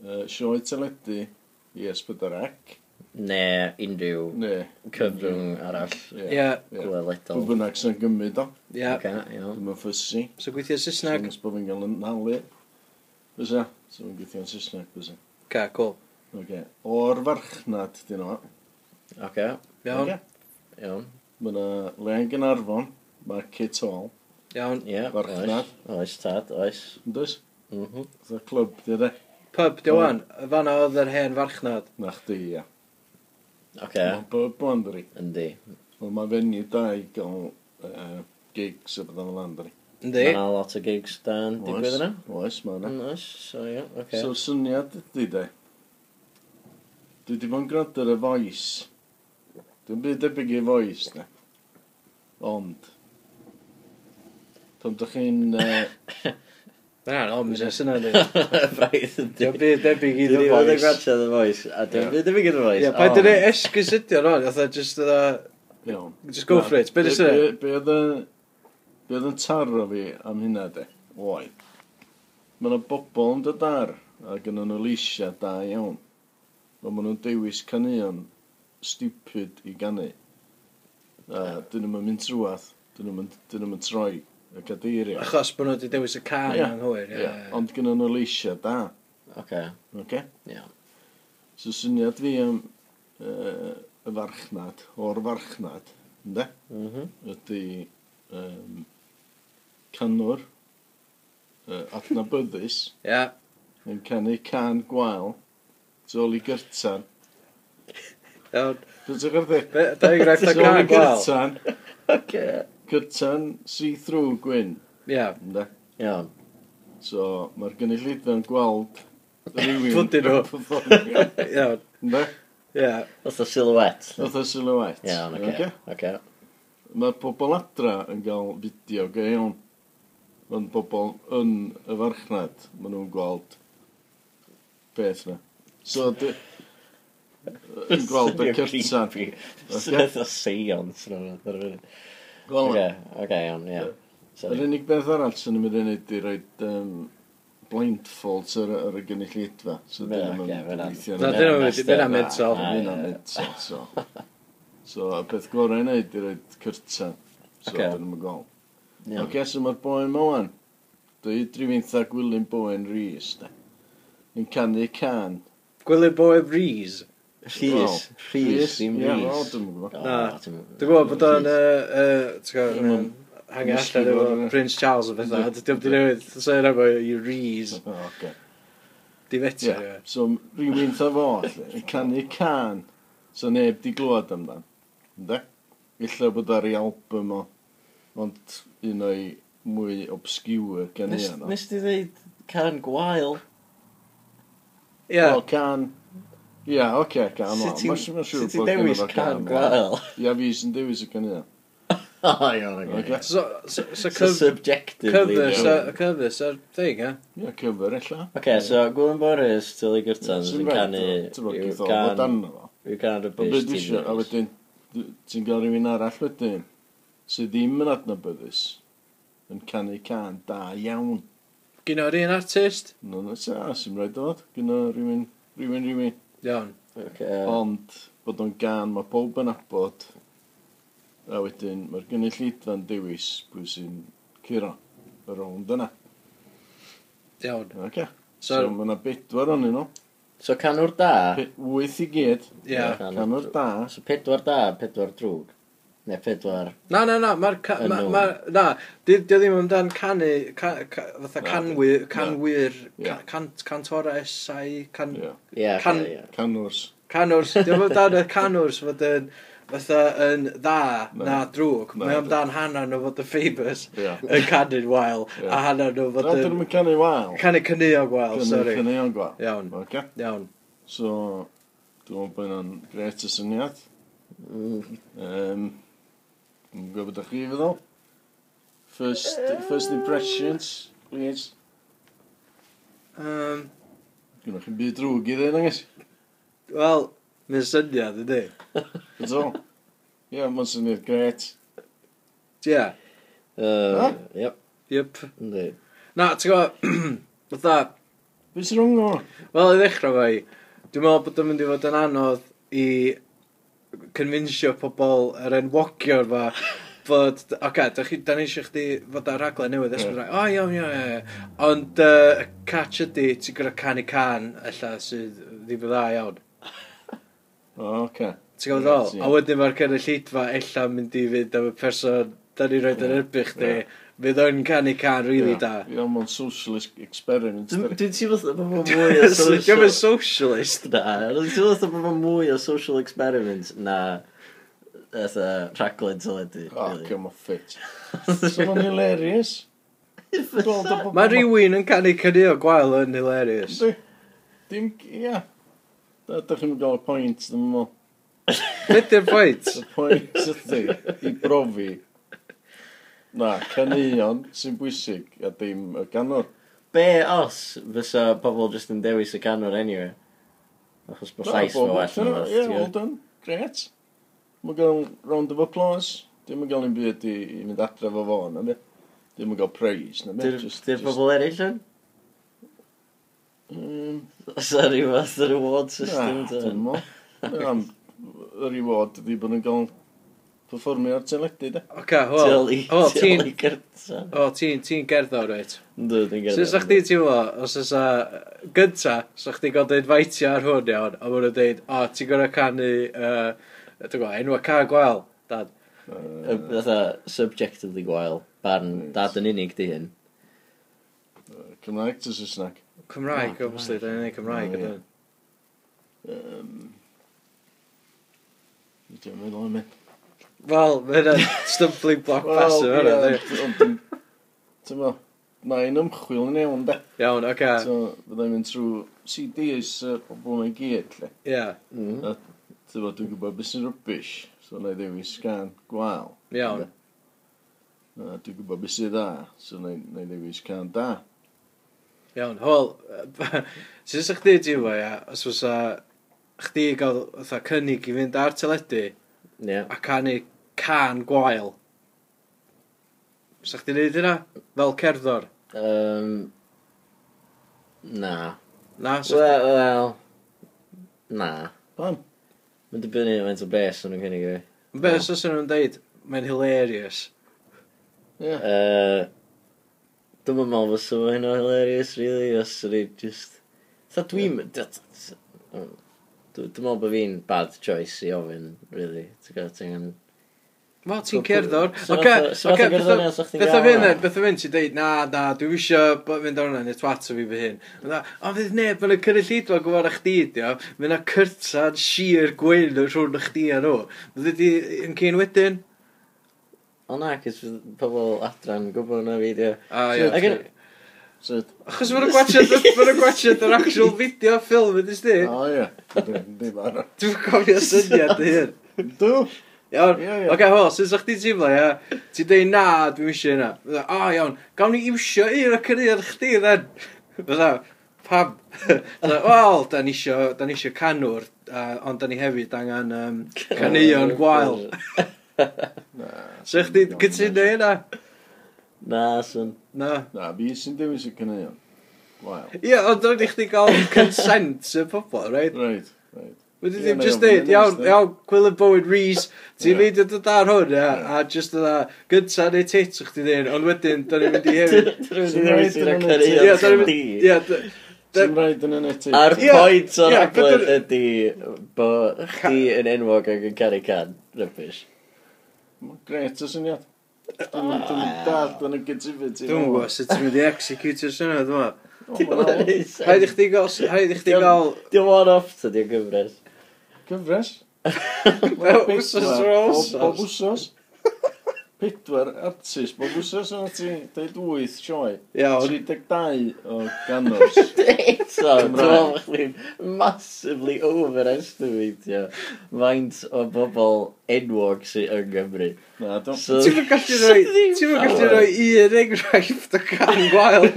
uh, sioe teledu i Esbydarac.
Ne unrhyw
Ne,
cyfrwng arall
ie.
Ie,
Ie. Pwy
gweledol.
bynnag sy'n gymryd o.
ie.
Oce, iawn.
Dwi'n mynd ffysi.
So gweithio Saesneg.
Dwi'n bod fi'n gael yn nalu. Fysa? So fi'n gweithio'n Saesneg, fysa.
Ca, cool.
Oce. O'r farchnad, dyn nhw.
Oce,
Iawn,
Oce.
iawn.
Mae yna Len Gynarfon, Market Hall.
iawn.
Ie,
Farchnad.
oes. Oes, tad, oes.
Yn dweud?
Mhm.
Fysa clwb, dyn nhw.
Pub, di o'n, fan oedd yr hen farchnad.
Na chdi, ia.
Oce,
Mae'n bob blandri.
yndi.
Ond mae fenni da i gael uh, gigs y bydda'n landri.
Yndi?
Mae lot o gigs dan digwydd yna.
Oes, mae yna.
Oes, so ie, Mm, oce.
So syniad ydy de Dwi di bod yn gwrando ar y voice Dwi'n byd debyg i voice de Ond Pan dych chi'n uh,
Na, no, mis nes yna di.
Braidd yn
Dio'n byd debyg i The
Dwi'n
Voice.
gwrando The Voice, a dwi'n
Ie.
byd yn byd The Voice.
Ie, paid dyn ni esgysidio no, oedd just oedd
Iawn
Just go for it, be' nes yna?
Be oedd y- be oedd yn taro fi am hynna de Oed Mae yna bobl yn dod ar A gynnu nhw leisia da iawn Ond maen nhw'n dewis canuon Stupid i ganu A dyn nhw'n mynd trwath Dyn nhw'n troi y cadeiriau
Achos bod nhw wedi dewis y can
Ie.
yn hwyr. ie.
Ie, ond gyda nhw leisia da,
Oce,
oce?
Ie.
So syniad fi am uh, y farchnad, o'r farchnad, ynddo?
mhm.
Ydy um, canwr uh, adnabyddus
Ie.
yn canu can gwael tu ôl i gyrtan.
Iawn.
Dwi'n e- ti'n gwrdd
Be- Da i graif da can gwael.
gyrtan,
Oce.
gyrtan see-through gwyn,
Ie.
ynddo?
Iawn.
So mae'r gynulleidfa'n gweld rywun...
Pwdyn nhw.
yn perfformio,
Iawn.
Ynddo?
Ie.
Oedd o silhouette.
Oedd y silhouette.
Iawn, oce. Oce.
Mae pobl adra yn cael fideo go iawn. Mae'n pobl yn y farchnad, maen nhw'n gweld beth na. So, dy... yn gweld y cyrtan.
Oedd o seance. Oce,
Wel,
oce, iawn, ie.
Yr
Sorry.
unig beth arall sy'n mynd i wneud i roi um, blindfolds ar, ar y gynulleidfa. So,
Ie,
dyn nhw'n
oce, fe na.
gweithio
Na,
arno.
dyn nhw wedi mynd am mental.
Na,
Mae hynna'n
ie.
mental, so. So, y peth gorau i wneud i roi cyrtan.
Oce.
So, dyn nhw'n gweld.
Iawn.
Ok, so mae'r boi yma wan. Dwi drifintha Gwilym Bowen Rhys, da. Yn canu can.
Gwylio boi Breeze.
Rhys. Rhys, ddim
Ie, wel,
Rhys.
dwi'm yn gwybod.
Na. Dwi'n gwybod bod o'n, yy, yy, ti'n gwybod,
Dwi'n-
yym, hangen
Wisgi
allan
fo,
efo
ie.
Prince Charles o bethau, dydy o'n di newid, so yna fo i Rees,
O, oce.
di fetio.
Ie, so rhywun ta fo, allu, yn canu can, so neb di glwad amdan. Ynde? Illa bod ar ei album o, ond un o'i mwy obscure gan i anna.
Nes di ddeud can gwael?
Ie,
Wel, can... Ie, oce, can o.
Sut ti'n-
Mae'n siŵr
sut
bod
ti'n
gynno
dewis
fo
can
o.
gwael?
Ia, fi sy'n dewis y can i anna.
O, iawn,
Oce.
oce.
so, so, so,
So
cyf-
subjectively.
cyfres,
iawn.
ar- cyfres ar thing, ie?
Ia, cyfer illa.
Oce, so Gwilym Boris, Tilly Gyrtans yn
Sy'n rhaid,
canu
ti'n bod
yw
gyda o
can,
dan o.
yw can y
Ond
bish
beth eisiau, a wedyn, d- ti'n gael rhywun arall wedyn, sydd ddim yn adnabyddus, yn canu can da iawn.
Gyn o'r un artist?
No, no, sa, sy'n rhaid dod, gyda rhywun, rhywun, rhywun.
Iawn.
Oce,
Ond, bod o'n gan, mae pob yn abod, a wedyn, mae'r gynulleidfa'n dewis pwy sy'n curo y rownd yna.
Iawn.
Okay. So,
So,
so mae yna bedwar o'n nhw,
so canwr da,
Pe- wyth i gyd,
ie.
canwr da,
so pedwar da, pedwar drwg. Ne, pedwar.
Na, na, na, mae'r... ca-
Yn
ma-
ôl.
ma- Na, di di o ddim amdan canu, ca- ca- fatha
Na,
canwyr,
na.
canwyr,
Ie.
ca- cant- cantora esau, can...
Ie,
Ie,
Can-
oce, ie.
canwrs.
Canwrs, di o ddim amdan y canwrs fod yn fatha yn dda
Na.
na drwg.
Na,
Mae
na.
amdan hanner nhw fod yn famous
Ie.
yn canu'n wael,
Ie.
a hanner nhw fod
Rhaid yn
yn...
mynd canu wael.
Canu cynnion wael, sori.
Canu o'n gwael.
Iawn,
Okay.
iawn.
So, dwi'n meddwl bod hynna'n gret y syniad.
Mm,
Um, Dwi'n gwybod ydych chi feddwl. First, first impressions, please.
Um,
Gwnnwch chi'n byd drwg i ddyn, angen?
Wel, mae'n syniad, ydy.
That's all. Ie, yeah, mae'n syniad gret.
Ie,
uh, Yep,
yep.
ynddi.
Na, ti'n gwybod, fatha,
Be sy'n rhwng o?
Wel, i ddechrau fo i, dwi'n meddwl bod o'n mynd i fod yn anodd i convincio pobl yr enwogio yma bod, oce, okay, da chi, da ni eisiau chdi fod ar raglen newydd
Ie.
esbryd, o iawn, iawn, iawn, iawn, ond yy, y catch ydi, ti'n gyda can i can, alla, sydd ddim yn dda iawn.
O, oce.
Ti'n gwybod
Ie,
ddol?
ie.
A wedyn mae'r cynulleidfa ella yn mynd i fynd am y person, da ni roed yn
Ie,
erbyn chdi,
ie.
fydd o'n can i can rili
Ie,
da.
Ie, mae'n socialist experiment.
Dwi'n
dydi?
ti fath bod mae'n mwy o
Dwi'n
social...
mynd socialist.
Na, dwi'n ti fath bod mae'n mwy o social experiment na eitha rhaglen teledu.
O, come on, fit. So, mae'n hilarious. Gweld y bobl-
Mae rhywun yn canu cynnig o gwael yn hilarious.
Yndi. Dim, ie. Da, da chi'n gael y pwynt, dwi'n meddwl.
Beth yw'r pwynt?
Y pwynt ydy i brofi na, caneuon sy'n bwysig a dim y ganwr.
Be os fysa pobl jyst yn dewis y canwr anyway? Achos bod llais fo well yn
yna. Ie, well done. Gret. Mae'n gael round of applause. Dim yn gael un byd i, i mynd adre fo fo, na beth. Dim yn gael praise, na beth.
Dy'r pobl eraill yn? Sorry, fath yr award system
Mm, Na, dim
dyn.
mo. Am y reward ydi bod nhw'n gael performio ar teledu, da.
Oce, wel,
Tilly,
wel, ti'n...
Tilly Gyrtsan.
O, ti'n ti gerddo, reit.
Yndw, dwi'n gyrdd.
Sut sa'ch ti teimlo, os ysa... Gynta, sa'ch ti gael dweud faitio ar hwn iawn, a maen nhw'n dweud, o, ti'n gorau canu, yy, dwi'n gwybod, enwa ca gwael, dad.
Yy,
Fytha, subjectively gwael. Barn, dad yn unig di hyn.
Cymraeg to Saesneg.
Cymraeg,
Na,
obviously, da ni'n ei Cymraeg,
Na, ie.
ydyn.
Yym. Dwi'n meddwl am hyn.
Wel, mae'n stumbling block pass yn hynny,
ie,
ydi.
ond- ond- Ti'n mo, mae'n ymchwil yn iawn, de.
Iawn, oce,
So, byddai'n mynd trwy CDs y bobl mae'n gyd, le.
ie, Mm-hmm.
Mm.
Ti'n mo, dwi'n gwybod beth sy'n rybys, so na i ddewis gan gwael.
iawn.
A dwi'n gwybod beth sy'n dda, so na i na i ddewis can da.
Iawn, hol, sy'n sy'ch di diwa, ia, os fysa chdi gael fatha cynnig i fynd ar teledu
Ie.
a canu can gwael. Fysa chdi'n neud hynna? Fel cerddor?
Yym, Na.
Na, so...
Wel, wel. Na.
Pam?
Mae'n dibynnu faint o bres o'n nhw'n cynnig i fi.
Be, os oes nhw'n deud, mae'n hilarious.
Ie.
Uh, Dwi'n meddwl fysa fo hynna hilarious, really, os ydy just... Tha dwi'n... d- mm. d- d- Dwi'n meddwl bod fi'n bad choice i ofyn, really. Ti'n gwybod, ti'n gan...
Wel, ti'n cerddor.
So
Oce,
fatha- so
oce,
fatha
beth
gerddoriaeth sa chdi'n
o
gael
fynd,
yna?
beth o fynd, ti'n deud, na, na, dwi wisio bo- fynd ar hwnna, neu twat o fi fy hyn. Fyna, O, fydd neb yn y cynulleidfa gwybod a chdi, dio, fydd na cyrtsan sir gwyn rhwng chdi a nhw. Fydd di yn cyn wedyn?
O na, cys fydd pobl adran yn gwybod na fi, dio.
A,
So,
ie,
ac yn-
ti-
Sut?
Achos mae'n gwachod, mae'n gwachod yr actual video ffilm, ydych ti?
O ie. Di fara.
Dwi'n cofio syniad y hyn.
Dw?
Iawn,
Ie, ie.
oce, hwyl, sy'n sa'ch ti'n teimlo, ia? Ti'n dweud, na, dwi'n eisiau hynna. Fydda, O, iawn, gawn ni iwsio un o cyrraedd chdi, then. Fydda, pam? Fydda, wel, da ni eisiau, da ni eisiau canwr, a, ond da ni hefyd angen um, caneuon gwael. Sa'ch ti'n cytuno hynna?
Na, swn.
Na.
Na, fi sy'n dewis y cynnion. Wel.
Ie, ond dwi'n i chdi gael consent y pobl, right?
Reit, reit.
Wedi
Ie,
ddim
mae
just
o'n-
dweud,
mae'n
iawn,
understand.
iawn, Gwil and Bowen Rees, ti'n
Ie.
mynd yn dod ar hwn, ia,
Ie.
a just yna, gynta neu tit o'ch ti ddyn, ond wedyn, da ni'n mynd i hefyd.
Ti'n rhaid
Dwi'n
yn y
Ie,
cario
da ni'n mynd,
di.
ie, d-
Ti'n rhaid yn y neti.
A'r
Ie,
pwynt o'r
ie,
aglen
but-
ydi bod chdi yn enwog ac yn caru can, rybys.
Gret o syniad. Dwi'n dad yn y gytifyd.
Dwi'n gwybod sut ti'n mynd i executio'r syniad yma. Rhaid i
Diolch
chdi gael, rhaid i chdi
Iawn.
gael,
one-off to di'r gyfres.
Cyfres?
Wel, wsos ar wsos.
O- Bob wsos. Pedwar artist. Bob wsos yna ti. Deud wyth sioe.
iawn,
32 o ganos.
Eto, dwi'n
Cymraeg.
meddwl bod chdi'n massively overestimatio faint o bobl enwog sy'n yng Nghymru.
Na, dwi'n...
So,
Ti'n mynd gallu rhoi, ti'n mynd gallu rhoi un enghraifft o can gwael.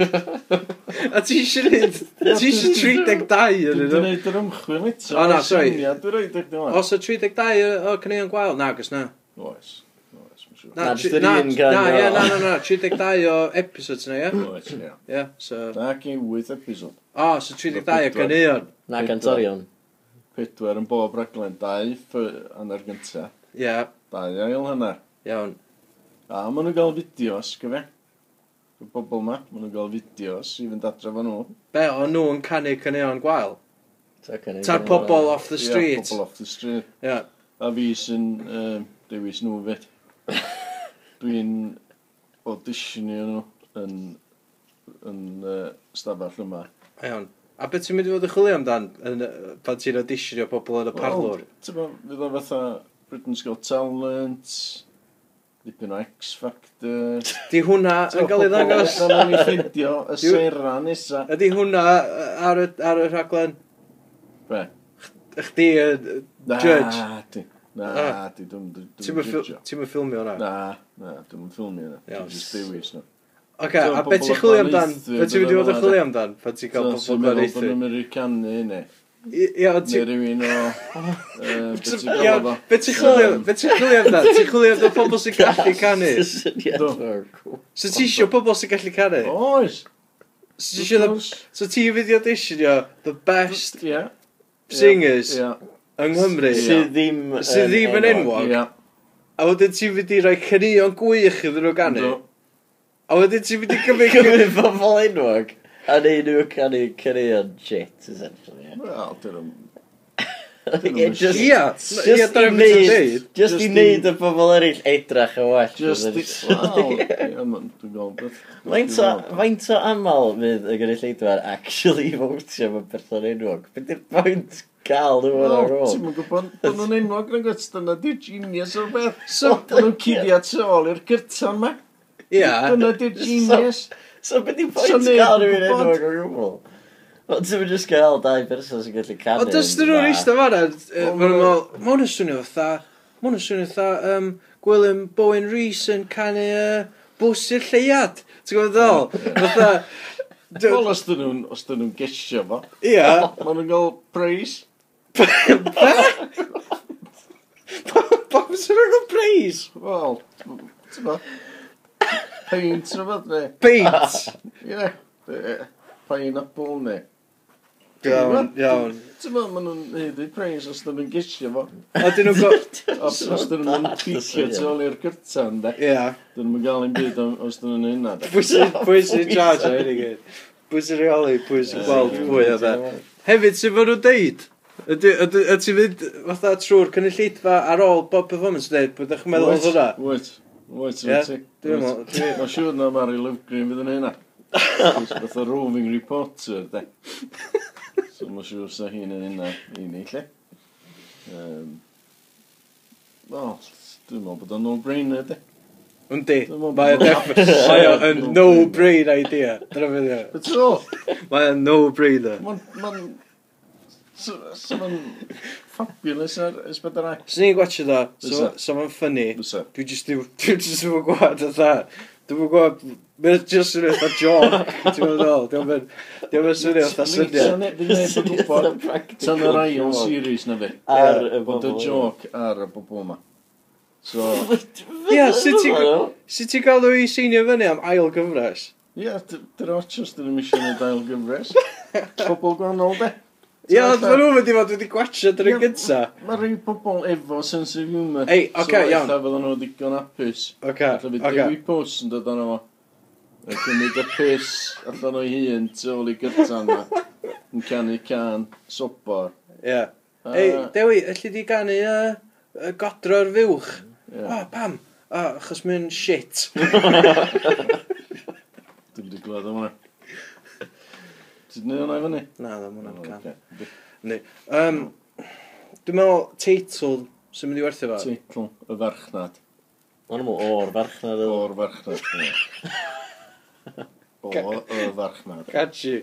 A ti eisiau rhaid, ti eisiau 32
Dwi'n
yn
dwi'n
yno.
neud yr ymchwil eto.
O, na, sorry.
Dwi'n rhaid eich dwi'n
Os y 32 o caneuon gwael, nagos na.
Oes. Oes, mae'n siŵr.
Na,
Na,
jyst
tri-
yr
na,
un gan
na,
yna.
ie, na, na, na, 32 o episodes na, ie?
Oes, ie.
Ie, so...
Na, gen wyth episod.
O, so 32 o ganeuon.
na cantorion.
Pedwar yn bob raglen. Dau ff- hanner gynta.
Ie,
Dau ail hanner.
iawn.
A maen nhw'n gael fideos, gyfe? Y bobl ma, maen nhw'n gael fideos i fynd adre fan nhw.
Be, o'n nhw yn canu caneuon gwael?
Ta caneuon
Ta'r
gwael.
pobol off the
Ie,
street?
pobl off the street.
Ie.
A fi sy'n um, dewis nhw fyd. Dwi'n auditionio nhw yn, yn uh, stafell yma.
Iawn. A beth ti'n mynd i fod yn chwilio amdan yn, yy, pan ti'n auditionio pobl yn y parlwr?
Ti'n bod, fydd o fatha Britain's Got Talent, dipyn o X Factor.
Di hwnna yn cael ei ddangos?
Dyna ni ffeindio y
Yw-
sera nesa.
Ydi hwnna yy, ar y, ar y rhaglen?
Be?
Chdi yn... yy,
Na,
Judge.
di. Na,
Ah.
di, dwi'n dwi'n
Ti'n mynd ffil-
judgeio.
ti'm yn ffilmio hwnna?
Na, na, dwi'n ffilmio yna.
Iawn.
Dwi'n just dewis
Oce,
nhw. So,
a
pobl
beth ti'n
o'r
chwilio
blaen
amdan?
eithu,
Beth ti'n mynd i fod yn chwilio amdan
bydde
pan ti'n
So,
cael
Ti'n
pobl
meddwl bod
gwneud?
nhw'n mynd i canu, ne?
Ie, ond
Neu
ti'n...
rhywun o... yy, be' ti'n galw
Iawn,
fo?
be ti'n chwilio,
Yym,
be ti'n chwilio amdan? Ti'n chwilio amdan pobl sy'n gallu canu?
That's a syniad
Do.
mawr cool.
So ti isio pobl sy'n gallu canu?
Oes!
So ti isio, the- so ti'n fydd i auditionio the best
Ie.
singers
Ie.
yng Nghymru?
Ie.
Sydd ddim
Sydd ddim yn enwog.
Ie.
A wedyn ti'n fydd i roi cynnion gwych iddyn nhw ganu?
Do.
A wedyn ti'n fydd i
Mae'n
gymryd...
cymryd pobl enwog. A neud nhw canu caneuon shit, essentially. ie.
Wel, dyn
Ie,
nhw'n...
just-
Ie, ie,
Just i
dyna beth ti'n
neud,
dweud.
just i
Just i-
neud y pobl eraill edrach yn well.
Just the... Wel, ie, ma'n- dwi'n gweld beth.
Faint o, faint o aml fydd y gynulleidfa'r actually votio mewn person enwog? Be di'r pwynt gael nhw yn ar
Wel,
ôl?
ti'n mynd gwybod bod nhw'n enwog yn gwrs, dyna di'r genius o'r beth.
So,
Bod nhw'n cuddio tu ôl i'r gyrta yma.
ie.
Dyna di'r genius.
So be di'r
So
pwynt
neb
gael
yn
rhywun
gwbod.
enwog o gwbl? Wel, ti'n mynd just gael dau person sy'n gallu canu.
Ond os dyn nhw'n
na.
eistedd fanna, yy,
Wel,
ma' nhw'n
ma-
meddwl, ma' hwn yn swnio fatha, ma' hwn yn swnio fatha, yym, Gwilym Bowen Rees yn canu yy, bws i'r lleiad. Ti'n gwybod
Ie.
ddol? Fatha...
Wel,
d-
os dyn nhw'n, os dyn nhw'n gesio fo,
Ie.
maen nhw'n gael praise.
Bob sy'n rhaid o breis?
Wel, ti'n bo, paint neu fath neu,
Beint!
ie, yy, pineapple neu.
Iawn, iawn.
Ti'n bo, maen nhw'n neud eu praise os dyn nhw'n gesio fo.
A dyn nhw'n go...
Os, os dyn nhw'n picio tu ôl i'r gyrta ynde.
Ie.
Dyn nhw'n gael ein byd am- os dyn nhw'n hynna. de.
Pwy sy'n pwy sy'n charge o hyn i gyd? Pwy sy'n reoli, pwy sy'n gweld pwy o fe? Hefyd, sy'n fod nhw'n deud? Ydy, ydy, ydy ti'n fynd fatha trwy'r cynulleidfa ar ôl bob performance dweud, bod ydych chi'n meddwl oedd hwnna?
Wyt, wyt,
Ie,
wyt.
dwi'n
Wyt.
meddwl-
Mae'n siŵr na Mary Love Green fydd yn hynna. Beth o roving reporter, de. So mae'n siŵr sa hi'n yn hynna i ni, lle. Um, o, dwi'n meddwl bod o'n no-brainer, de.
Yndi,
Dwi'n meddwl
mae o
bod-
deff- mae o yn no-brain idea. Dyna fydd o.
Beth o?
Mae o'n no-brainer.
Mae'n... Mae'n... So mae'n fabulous ar ysbeth ar ac.
Os ni'n gwachio ddo, so
Fysa.
so ma'n ffynnu,
Fysa.
dwi jyst ddim, dwi jyst ddim yn gwybod fatha, dwi'n gwybod, mae'n jyst yn eitha joc, ti'n meddwl, dwi'n meddwl, dwi'n meddwl swnio fatha syniad.
Syniad. Tan yr ail series na fi.
Ar
y
Bod y joc ar y bobl yma. So,
Ie, sut ti'n- sut ti'n gael nhw i seinio fyny am ail gyfres?
ie, dy'r ochos dyn nhw'n eisiau gwneud ail gyfres. Pobl gwahanol, de.
Ie, ond maen nhw'n mynd i fod wedi gwachio dyn nhw'n
Ie.
gynta.
Mae rhai pobl efo sense of humour.
Ei, ocê, iawn.
So, eitha fydden nhw ddigon apus.
Oce,
Alla fi
oce.
dewi pws yn dod arno fo. A cymryd y pus allan o'i hun tu ôl i gytan yma. Yn canu can, sopor.
Ie.
A-
Ei, Dewi, allu di ganu yy, y godro'r fiwch?
Ie.
O, pam? O, achos mae'n shit.
Dwi'n wedi glwyd am hwnna. Ti'n gwneud hwnna i fyny?
Na, dda, mae'n can.
Ocê.
Um, dwi'n meddwl teitl sy'n mynd i werthu fo.
Teitl y farchnad.
Mae'n mwy o'r farchnad o.
O'r farchnad. ie. O y farchnad.
Catchy.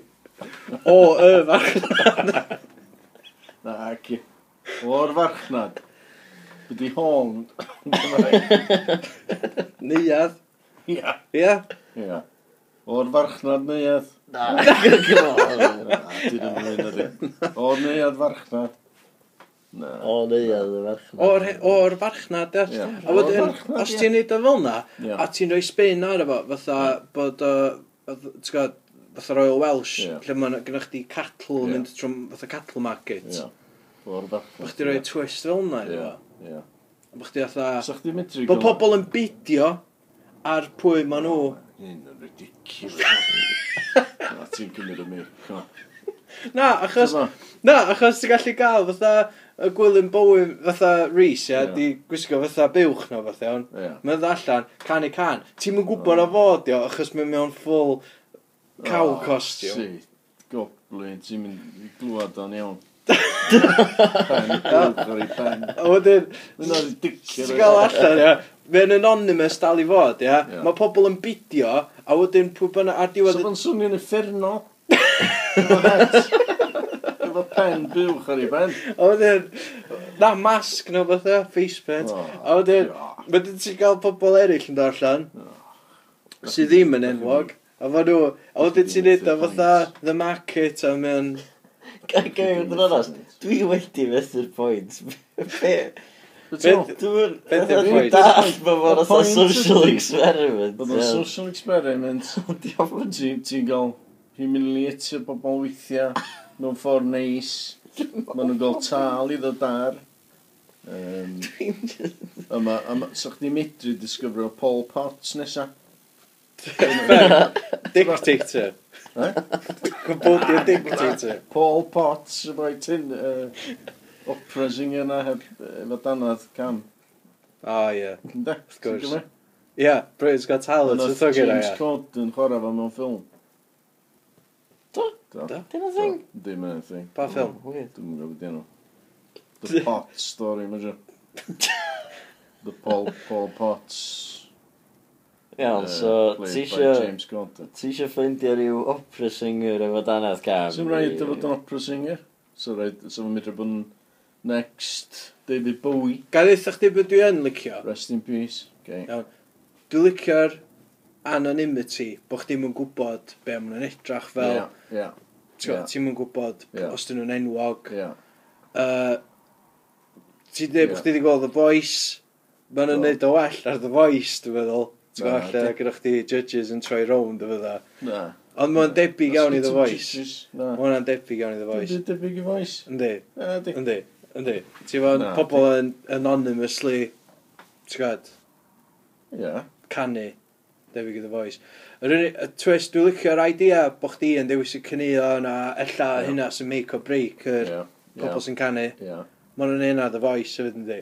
O, y farchnad.
Na, ac i. O'r farchnad. Bydi hon. yn Gymraeg.
Neuad.
Ia.
Ia?
Ia. O'r farchnad neuad.
Na, gymryd.
Na, ti ddim yn mynd ydi. O'r neuad farchnad. Na.
O, neuad y farchnad.
O'r he- o'r farchnad,
Ie.
ia. A wedyn,
O'r farchnad,
os
ie.
ti'n neud o fel na,
Ie.
a ti'n rhoi spin ar efo, fatha bod o, ti'n gwybod, fatha Royal Welsh,
Ie.
lle mae'n gynnwch chi cattle yn
Ie.
mynd trwy fatha cattle market.
Ia. O'r farchnad.
Bych ti'n rhoi twist fel na,
Ia.
ia.
Ia.
Bych ti'n fatha,
Sa chdi medru...
bod pobl yn bidio ar pwy ma nhw.
Hyn yn ridiculous. Na, ti'n cymryd y mic. come on.
Na, achos
Dyma.
Na, achos ti'n gallu gael fatha y gwylyn bywyd fatha Rhys, ia,
Ie.
di gwisgo fatha buwch na fatha iawn.
Ia.
Mae'n dda allan, can i can. Ti'n mynd gwybod o fod, ia, achos mae'n mewn full cow
Oh,
costume.
shit. Goblin, ti'n mynd i glwad o'n iawn. Pen, gwrdd o'r i pen.
A wedyn,
Mae'n
ti'n
ridiculous.
gael allan, ia, mae'n anonymous dal i fod, ia.
Ie.
Mae pobl yn bidio, a wedyn pwy bynnag ar
So
diwedd...
fo'n swnio'n effernol. Efo het. Efo pen buwch ar ei ben.
A wedyn, na, masg na fatha, face paint.
Oh,
A wedyn,
God.
wedyn ti'n gael pobl eraill yn dod allan,
Oh.
sydd ddim yn enwog. A fo nhw, a wedyn ti'n neud o fatha the market a mewn...
Gael yn onas, dwi wedi methu'r pwynt. Be?
Ti'n
Dwi'n...
Be' di'r
Dwi'n
point?
dall bod fo'n
Y
fatha
point
social
ydi-
experiment.
Bod o'n social experiment. Ti'n ti gael humiliatio bobl weithiau mewn ffordd neis. Maen nhw'n gael tal i ddod ar. Um, yma, yma, so chdi medru disgyfrio Paul Potts nesa.
Dictator.
Eh?
Gwbwdi a dictator.
Paul Potts, y boi tin, uh, opera singer na heb, efo danodd cam.
O, ie.
Ynde?
Wrth gwrs. Ie, Britain's Got Talent, y
Yna
thogyn o,
James
ie.
Corden chwarae fo mewn ffilm.
Do?
Do? Do?
Dyna thing.
Dim yn y thing.
Pa ffilm?
Weird.
Dwi'n gwybod beth yno. The Pot Story, mae'n siŵr. The Paul, Paul Potts.
Iawn,
uh,
so
played
ti
by
isio...
James Corden.
Ti isio ffeindio rhyw opera singer efo danaeth cam?
Sy'n rhaid o fod yn opera singer? So rhaid, so mae'n mynd bod yn next David Bowie.
Gael eitha chdi beth dwi yn licio.
Rest in peace. Okay.
Dwi'n licio'r anonymity, bo chdi'm yn gwybod be maen nhw'n edrach fel.
Ia,
Ti'n gwbod,
Ie.
ti'm yn gwybod
Ie.
os dyn nhw'n enwog.
ia.
Yy, Ti'n dweud bod
Ie.
chdi wedi gweld The Voice. Mae'n
Do.
nhw'n neud o well ar The Voice, dwi'n meddwl. Ti'n
Na,
gwbod, lle
di-
gyda chdi judges yn troi rownd o fydda.
Na.
Ond mae'n debyg iawn i The
Ysbyty
Voice.
Judges, Na.
Mae hwnna'n debyg iawn i The Voice.
Dwi'n debyg i voice.
Yndi,
Na, di.
yndi, yndi. Ti'n fawr
Na,
pobl yn anonymously, ti'n gwbod,
Ia.
canu, debyg i The Voice. Yr unig, y twist, dwi'n licio'r idea bod chdi yn dewis y cynio na ella
Ie.
hynna sy'n make or break yr
Ia. Ie.
pobl sy'n canu,
Ia.
maen nhw'n un The Voice, sefyd yn di.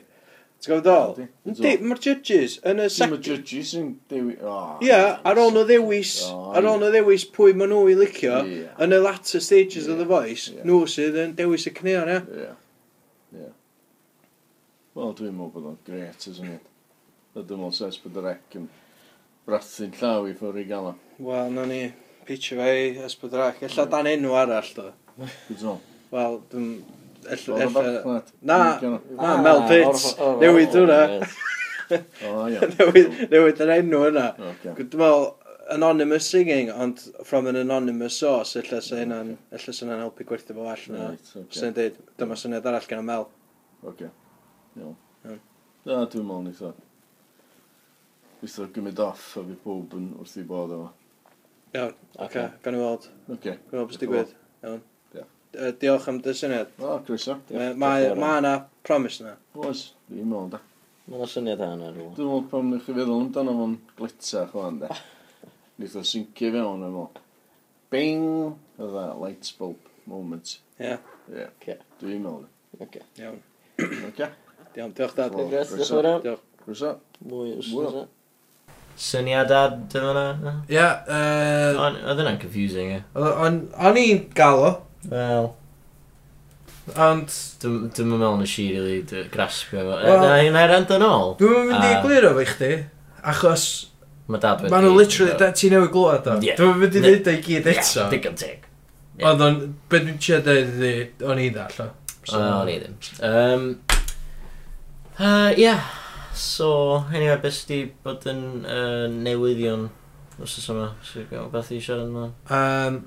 T'w gwybod dol?
Yndi.
Yndi, mae'r judges yn y
Dim y
second...
judges yn dewi... O.
Ia, ar ôl nhw ddewis,
O,
ar ôl nhw ddewis pwy maen nhw i licio,
Ie.
yn y latter stages of The Voice,
Ie.
nhw sydd yn dewis y cneon, ia.
Ie. Ie. Wel, dwi'n meddwl bod o'n gret, ys hynny. A dwi'n meddwl ses bod yr ec yn brathu'n llaw i ffwrdd i gael o.
Wel, na ni, pitio fe i ysbydrach. Ella dan enw arall, do.
Gwyd o'n.
Wel, dwi'n... Ella...
Oedd o
ella-
farchnad?
Na.
Dwi'n licio
Ah,
Na, Mel Pitts. Newid hwnna.
nhw. O, ia.
Newid newid yr enw yna.
Oce.
Dwi'n meddwl, anonymous singing, ond from an anonymous source, ella sy'n hynna'n ella sy'n hynna'n helpu gwerthu fo all yna.
Right, oce.
Sy'n dweud, dyma syniad arall gan y Mel.
Oce. Iawn.
Iawn.
Na, dwi'n meddwl ni thod. Fyth o'r gymryd off a fi bob yn wrth i bod o.
Iawn, oce,
Ocê.
gan i weld.
Oce.
Gan i weld beth digwydd. Iawn.
Ie.
Yy, Diolch am dy syniad.
O, Chriso.
Mae mae yna promise yna.
Oes, dwi'n meddwl da.
Mae'n syniad hyn ar ôl.
Dwi'n meddwl pam nech chi feddwl amdano fo'n glitsa chwan de. Nid o syncio fewn efo. Bing! Oedd that light bulb moment.
Ie,
Ie.
Ocê.
Dwi'n meddwl.
Oce.
iawn.
Oce?
Iawn, diolch dad.
Wel,
Diolch yn
croeso.
fawr iawn.
Diolch.
Croeso.
Mwy
Wel.
wrth Syniadad, dyma na.
Ia, yy,
Oedd yna'n confusing, e.
o- o'n o'n i'n gael o,
Wel,
ond
dwi'n meddwl nes i really graspio fo.
Wel-
Na i na'i rand yn ôl.
dwi'n mynd i
A-
glir o fe i chdi, achos
Mae dad wedi...
maen nhw literally, da- ti newid glwad o.
Ie.
Dwi'n mynd i
Ne-
ddeud o i gyd eto.
Digon teg. ie.
Ond o'n, be dwi'n siarad dweud ydi, o'n i'n ddall o. So-
O, ni ddim. Um, uh, yeah. So, anyway, beth sydd wedi bod yn uh, newyddion wrth yma? Sydd gael beth i siarad yma?
Yym,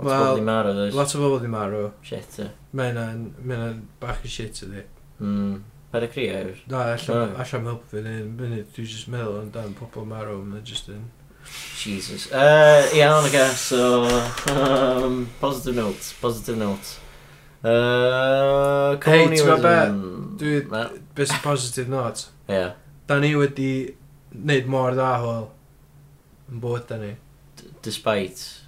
Lot
Wel,
well, o bobl i marw, dweud.
Lot o bobl di marw.
Shit, e.
Mae hynna'n mae hynna'n bach o shit ydi.
Hmm. Pa'r y cri, ewyr.
Na, allan,
Right.
allan help fi neu munud, dwi'n just meddwl yn dan pobl marw, mae'n just yn...
Jesus. Uh, iawn, oce. So, um, positive note. Positive note. Uh,
Hey, ti'n gwbod
colonialism.
be? Dwi-
Na.
Beth sy'n positive not?
Ie.
Da ni wedi wneud mor dda hwyl. Yn bod da ni.
D- Despite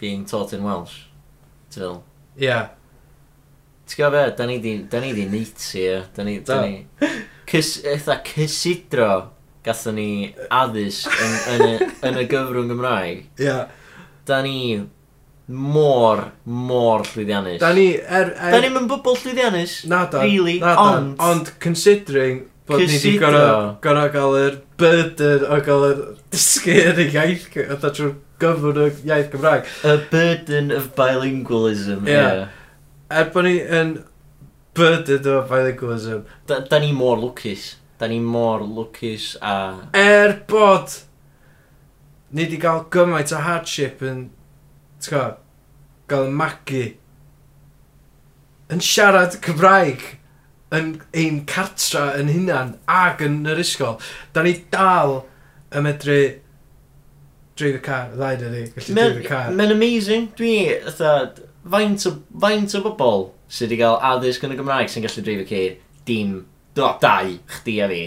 being taught in Welsh. Ti'n fel.
Ia.
Ti'n gwybod be? Da ni di, da ni di neitsi, ie. Da ni, da
Do.
ni... Cys, eitha cysidro gatho ni addysg yn, yn, y, yn y gyfrwng Gymraeg.
Ia.
Da ni mor, mor llwyddiannus.
Da ni er... er
Da ni'n bobl llwyddiannus.
Na da.
really,
na da.
ond-
Ond considering bod ni wedi
Cysidro.
gorau gael yr burden o gael yr dysgu yn y iaith, oedd trwy'r gyfwn o iaith Gymraeg.
A burden of bilingualism.
Ie.
Yeah.
Er bod ni yn burdened o bilingualism,
Da, da ni mor lwcus. Da ni mor lwcus a...
er bod ni wedi cael gymaint o hardship yn, ti'n gwybod, gael yn magu, yn siarad Cymraeg, yn ein cartra yn hunan ac yn yr ysgol, da ni dal y medru dreif y car, ddau na ni, gallu dreif y car.
Mae'n amazing. Dwi, ytha, faint o, faint o bobl sydd wedi cael addysg yn y Gymraeg sy'n gallu dreifio ceir. Dim, do, dau, chdi a fi.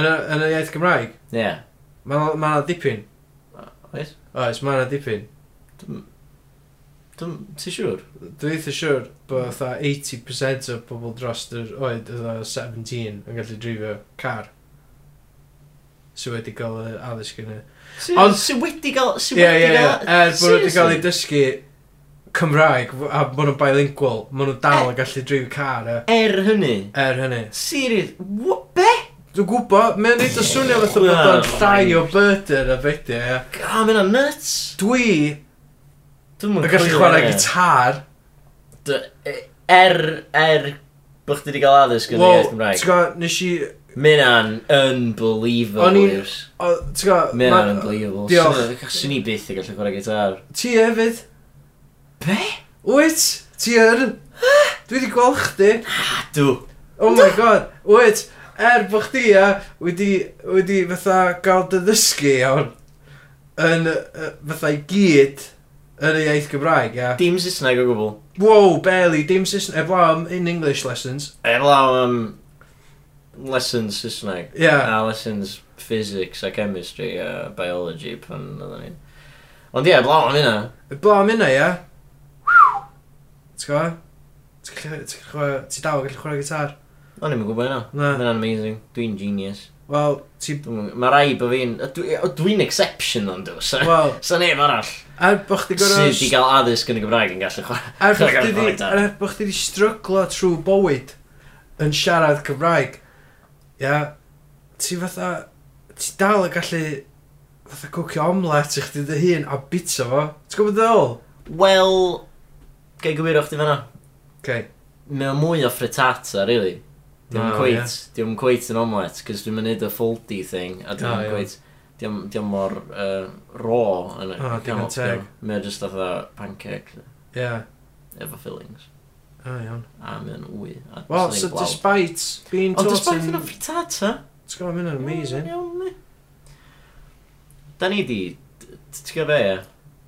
Yn y, yn y iaith Gymraeg,
Ie. Yeah.
mae ma 'na dipyn,
Oes?
oes, mae 'na dipyn.
Dwi'n, ti'n siŵr?
Dwi eitha siwr bod fatha 80% o bobl dros yr oed fatha 17 yn gallu drifio car sydd wedi cael y addysg yn y...
Sy-
Ond-
Sydd wedi cael... Sydd
Ie, ie,
wedi
ie,
cael...
er bod nhw wedi cael eu
Seriously?
dysgu Cymraeg f- a bod nhw'n bilingual, maen nhw
Eh.
dal yn gallu drifio car e,
Er hynny.
er hynny.
Serious. What? Be?
Dwi'n gwybod, mae'n neud o swnio fatha bod o'n llai o burden a fedi e.
Ah, mae'n nuts.
Dwi
Dwi'n
yn gallu chwarae gitar,
D- er, er bod chdi wedi cael addysg yn y
wow,
iaith
ti'n
Gymraeg.
gwybod, nes i...
Mae'n unbelievable.
O'n
O'n
i-
i'n...
o, Ti'n gwybod,
Mae'n
ma-
unbelievable.
diolch.
Diolch. Swn i byth i gallu chwarae gitar.
ti hefyd?
Be?
Wyt, ti yn? Dwi wedi gweld chdi.
Dw.
Oh my god, wyt, er bod chdi a wedi, wedi fatha gael dy ddysgu iawn yn uh, fatha i gyd yn y iaith Gymraeg, ia.
Dim Saesneg o gwbl.
Wow, barely, dim Saesneg, eblaw am in English lessons.
Eflaw am... Lessons Saesneg.
Ia, yeah.
A lessons physics a chemistry a biology pan oedden ni. Ond ie, blaw am hynna.
eblaw am hynna, ia. T'w gwybod? T'w Ti'n gallu- ti'n gallu chwarae- ti dal yn gallu chwarae gitar?
O'n i'n gwybod yna.
Na.
Mae'n amazing. Dwi'n genius.
Wel, ti...
Dwi'm yn- Mae rai bod fi'n... o, dwi- o, Dwi'n exception ond dwi. So,
Wel,
so neb arall
er bo' chdi gorfod-
sydd i gael addysg yn y Gymraeg yn gallu chwarae.
Er bo'
Chwarae
chdi di-
gitar.
er bo' chdi di stryglo trwy bywyd yn siarad Cymraeg, ia, ti fatha, ti dal yn gallu fatha cwcio omlet i chdi dy hun a bita fo. Ti'n gwybod dy ôl?
Wel, gael gywiro chdi fanna.
Okay.
Mae o mwy o frittata, really. Diolch yn
Oh,
cweit, diolch yn cweit yn omlet, cos dwi'n mynd y foldy thing, a diolch
Oh, ie.
yn cweit, diolch mor uh, raw yn y
Oh, digon teg.
Mae'n just oedd pancake,
Ie. Yeah.
efo fillings,
O, iawn.
a mae'n wy. a
Wel,
jyst
so
yn neud glaw.
despite being
Ond
taught
despite Mm,
in...
yn o frittata,
Ti'n gwybod, mae'n amazing.
Iawn, ne? Da ni di... t- Ti'n gwybod be, ie?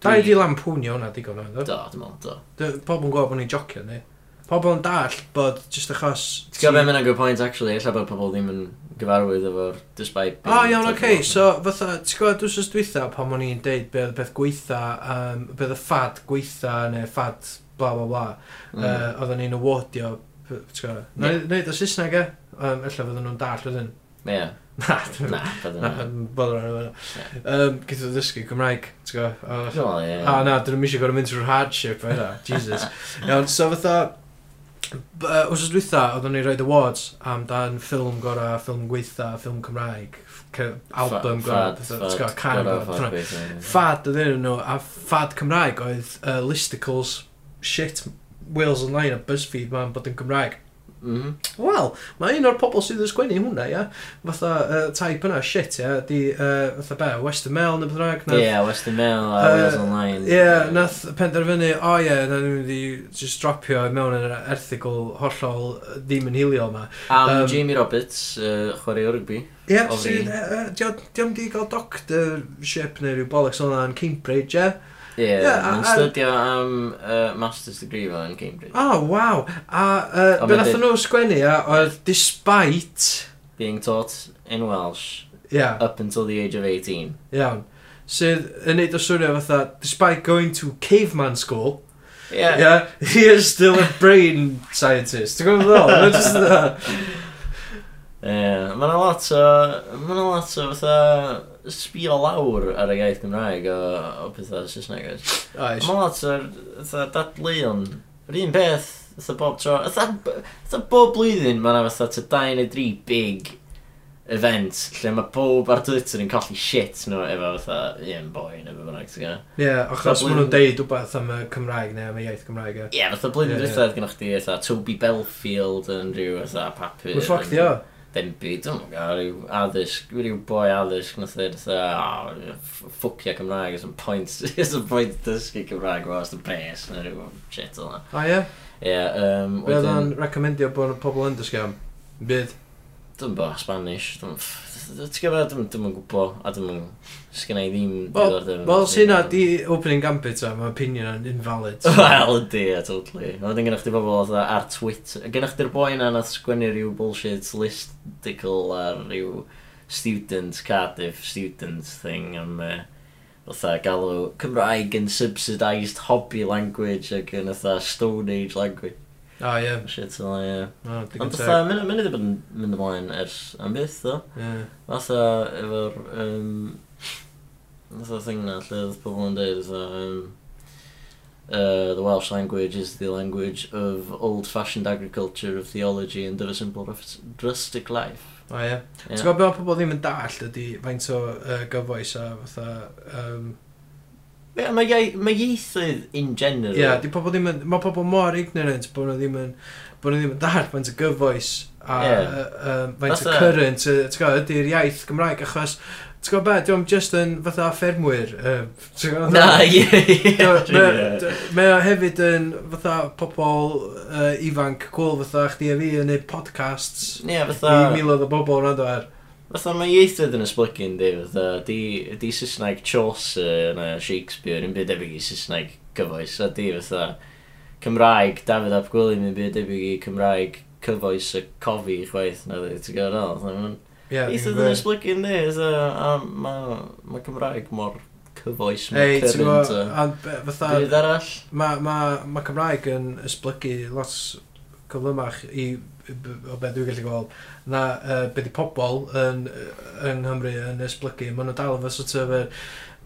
Da i
Dwi-
di lampwnio hwnna digon o'n
Do,
dod.
dim ond, do.
Pobl yn gwybod bod ni'n jocio, ni. Pobl yn dall bod just achos...
Ti'n gwybod be, mae'n good point, actually. Ella bod pobl ddim yn gyfarwydd efo'r despite...
O, oh, iawn, oce, okay. so fatha, ti'n gwybod drwsos dwytha pan o'n i'n deud be oedd y beth gweitha, um, be oedd y ffad gweitha neu ffad bla bla bla, mm. uh, oedden ni'n awardio, p- ti'n gwybod,
Ie.
yeah. neud o Saesneg e, um, ella fydden nhw'n dall wedyn.
Ie,
Na, dwi'n-
na, bydd
na,
yna.
dwi'n bodd o'n efo. Um, Gyda ddysgu Cymraeg, ti'n gwybod,
Dwi'n meddwl, ie.
A Ah, na, dyn nhw'n eisiau gorau mynd trwy'r hardship fe na, Jesus. Iawn, so fatha, b- yy, wrth dwytha, oeddwn ni'n rhoi awards am dan ffilm gorau, ffilm gweitha, ffilm Cymraeg, f- cy- album gorau, petha, ti'n gwbod, can gorau, petha na.
Ffad.
Fad ydyn nhw, a fad Cymraeg oedd uh, listicles, shit, Wales Online a BuzzFeed ma'n bod yn Cymraeg.
Mm-hmm.
Wel, mae un o'r pobol sydd yn sgwennu hwnna, ia. Fatha, uh, type yna, shit, ia, di, uh, fatha be, Western Mail neu beth bynnag, neu
Ie, Western Mail a
Yy,
Wales Online.
Ie, yeah, nath penderfynu, o ie, na ni'n mynd i just dropio mewn yn yr erthigol hollol yy, ddim yn hilio yma.
Am
yym,
Jamie Roberts, yy, chwarae o rygbi.
Ie, yeah,
O fi.
sydd, uh, diolch di gael doctorship neu rhyw bollocks o'na yn Cambridge, ie.
Ie,
Ie, a-
yn
a-
studio am yy, Masters degree fo yn Cambridge.
O, oh, waw. A uh,
Ond
be
ma'
nath
di-
nhw sgwennu, ia, oedd despite,
Being taught in Welsh
ia, yeah,
up until the age of 18.
iawn, sydd yn neud o swnio fatha, despite going to caveman school,
Yeah.
Yeah, he is still a brain scientist. Ti'n gwybod ddol? Mae'n just... Uh,
Yeah, mae yna lot o... Mae yna lot o fatha sbio lawr ar y iaith Gymraeg o, o pethau Saesneg oes.
oes.
Mae lot o'r fatha dadleuon. Yr un beth, fatha bob tro. Fatha b- fatha bob blwyddyn mae yna fatha ta dau neu dri big event lle mae pob ar Twitter yn colli shit nhw efo fatha un boi neu beth bynnag ti'n gwybod.
Ie, yeah, achos
Fel
maen nhw'n
blwyddyn-
deud rhywbeth am y Cymraeg neu am y iaith Cymraeg e.
Ie, yeah, fatha blwyddyn
Ie,
yeah,
ie.
dwythaf gynnwch chi fatha Toby Belfield yn rhyw fatha papur.
Mae'n ffoc di o.
Dembi, dwi'n mwyn gael rhyw addysg, rhyw boi addysg nath dweud fatha, o, ffwcia Cymraeg, it's a point, it's a point dysgu Cymraeg, well, it's the best, neu rhyw shit o'na.
A ie,
Ie, um,
be oedd o'n
wedyn,
recomendio bod y pobl yn dysgu am? Byd.
dwi'n bo, Spanish, dwi'n, ti'n gwybod, dwi'n dwi'n gwybod, a dwi'n, sgynna i ddim
Wel,
diddordeb yn
Wel,
dysgu.
sy'n na di opening gambit a mae opinion yn invalid.
Wel, ydy, yeah, totally. Wedyn gennych chi bobl oedd ar Twitter. Gennych chi'r boi na nath sgwennu rhyw bullshit listicle ar rhyw student, Cardiff student thing am uh, fatha galw Cymraeg yn subsidised hobby language ac yn fatha Stone Age language.
A ie,
Shit, fel ie.
o, digon
Ond
teg.
fatha, mynd mynd i bod yn mynd ymlaen ers am byth, ddo.
Ie.
Fatha, efo'r... Um, fatha thing na, lle oedd pobl yn dweud, fatha... Um, uh, the Welsh language is the language of old-fashioned agriculture, of theology and of a simple rus- rustic life.
A ie.
Ie.
Ti'n gwybod beth pobl ddim yn dall ydy faint o yy, gyfoes a fatha... yym,
Ie, Mae iei- mae ieithydd in general.
Ie, di pobl ddim yn... Mae pobl mor ignorant bod nhw ddim yn... Bod nhw ddim yn dall faint o gyfoes a
Ie.
yy, yym, faint o
Fatha-
current, yy, ti'n gwybod, ydy'r iaith Gymraeg achos... Ti'n gwybod beth, diolch just yn fatha ffermwyr. yy, ti'n gwbod?
Na, ie,
Do, mae-
ie.
do- Mae o hefyd yn fatha pobl uh, ifanc cool fatha chdi a fi yn neud podcasts
Ie,
i
fatha...
miloedd o bobl rand o ar.
Fatha mae ieithydd yn ysblygu yn di, fatha, di, di Saesneg Chaucer na Shakespeare yn byd debyg i Saesneg cyfoes, a di fatha Cymraeg, Dafydd Ap Gwilym yn byd debyg i Cymraeg cyfoes y cofi chwaith, na di, ti'n gwybod ôl? Fatha, ma'n-
Ie, dwi'n
Ieithydd yn
gwybod.
ysblygu yn di, fatha, a mae ma Cymraeg mor cyfoes,
Ei,
mor
ti'n gwybod,
current o
a be- fatha,
byd arall.
mae ma, ma Cymraeg yn esblygu lot cyflymach i, i b- o beth dwi'n gallu gweld na uh, beth i pobl yn, yng Nghymru yn esblygu maen nhw'n dal efo sort of yr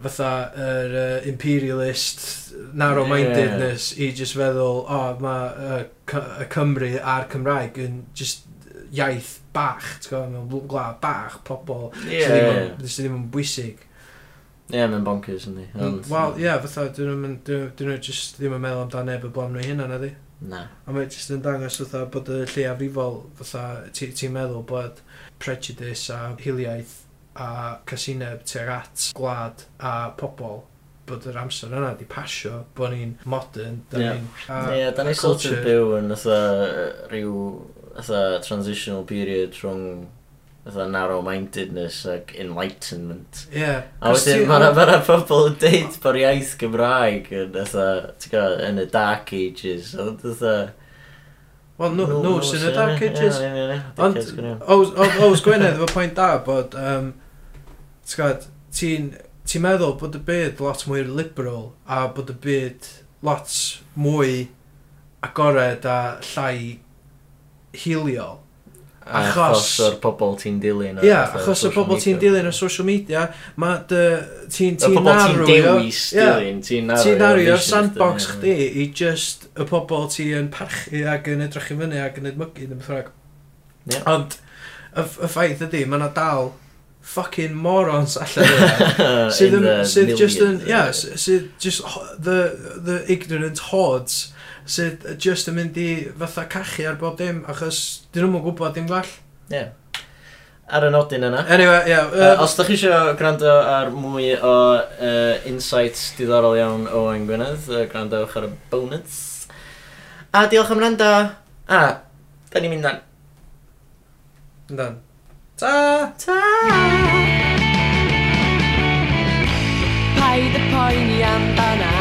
fatha yr uh, imperialist narrow-mindedness i just feddwl o oh, mae uh, Cy- y Cymru a'r Cymraeg yn just iaith bach ti'n gwybod mewn gwlad bach pobl
Ie.
sydd ddim yn- sydd ddim yn bwysig
Ie, mae'n bonkers yn di.
Mm, Wel, ie, yeah, fatha, dyn nhw'n mynd- dyn nhw dyn nhw jyst ddim yn meddwl amdano neb y blom nhw hynna, na di?
Na.
A mae jyst yn dangos fatha bod y lleiafrifol, fatha, ti- ti'n meddwl bod prejudice a hiliaeth a casineb tuag at gwlad a pobl bod yr amser yna di pasio, bod ni'n modern, da
Ie.
ni'n... a-
Ie,
a
da ni sort of
culture.
byw yn ytho rhyw ytho transitional period rhwng ytho narrow-mindedness ac enlightenment.
Ie.
A
Cos
wedyn
ti-
mae'na ma pobl yn deud bod iaith Gymraeg yn ytho, ti'n gwybod, yn y dark ages. Ond ytho...
Wel, nhw nhw sy'n y dark ages. Ond,
Ond...
Oes Gwynedd, efo pwynt da, bod, um, ti'n gwybod, ti'n ti meddwl bod y byd lot mwy liberal a bod y byd lot mwy agored a llai hiliol.
Achos
achos-
o'r pobl ti'n dilyn.
Ie,
ar
yeah,
fatha
achos y
social
pobl ti'n
media.
dilyn ar social media, mae dy- ti'n
Y
ti'n
pobl ti'n
narw...
dewis
Ie.
dilyn, ti'n narw.
Ti'n nario
o'r
ar sandbox
visions
chdi i just y pobol ti yn parchu ac yn edrych i fyny ac yn edmygu ddim ffrag.
Ie.
Ond y, f- y ffaith ydy, mae yna dal fucking morons allan yna.
In
sydd yn,
the
sydd just yn,
millions,
ia, yeah, sydd just ho- the, the ignorant hordes sydd just yn mynd i fatha cachu ar bob dim achos dyn nhw'n gwybod dim gwell.
Ar y nodyn yna.
Anyway, ia,
Uh,
yeah,
os da chi eisiau gwrando ar mwy o uh, insights diddorol iawn o Owain Gwynedd, uh, gwrandowch ar y bonus. A diolch am rando. A, da ni'n mynd ar...
uh, Ta!
Ta!
Paid y poeni am banad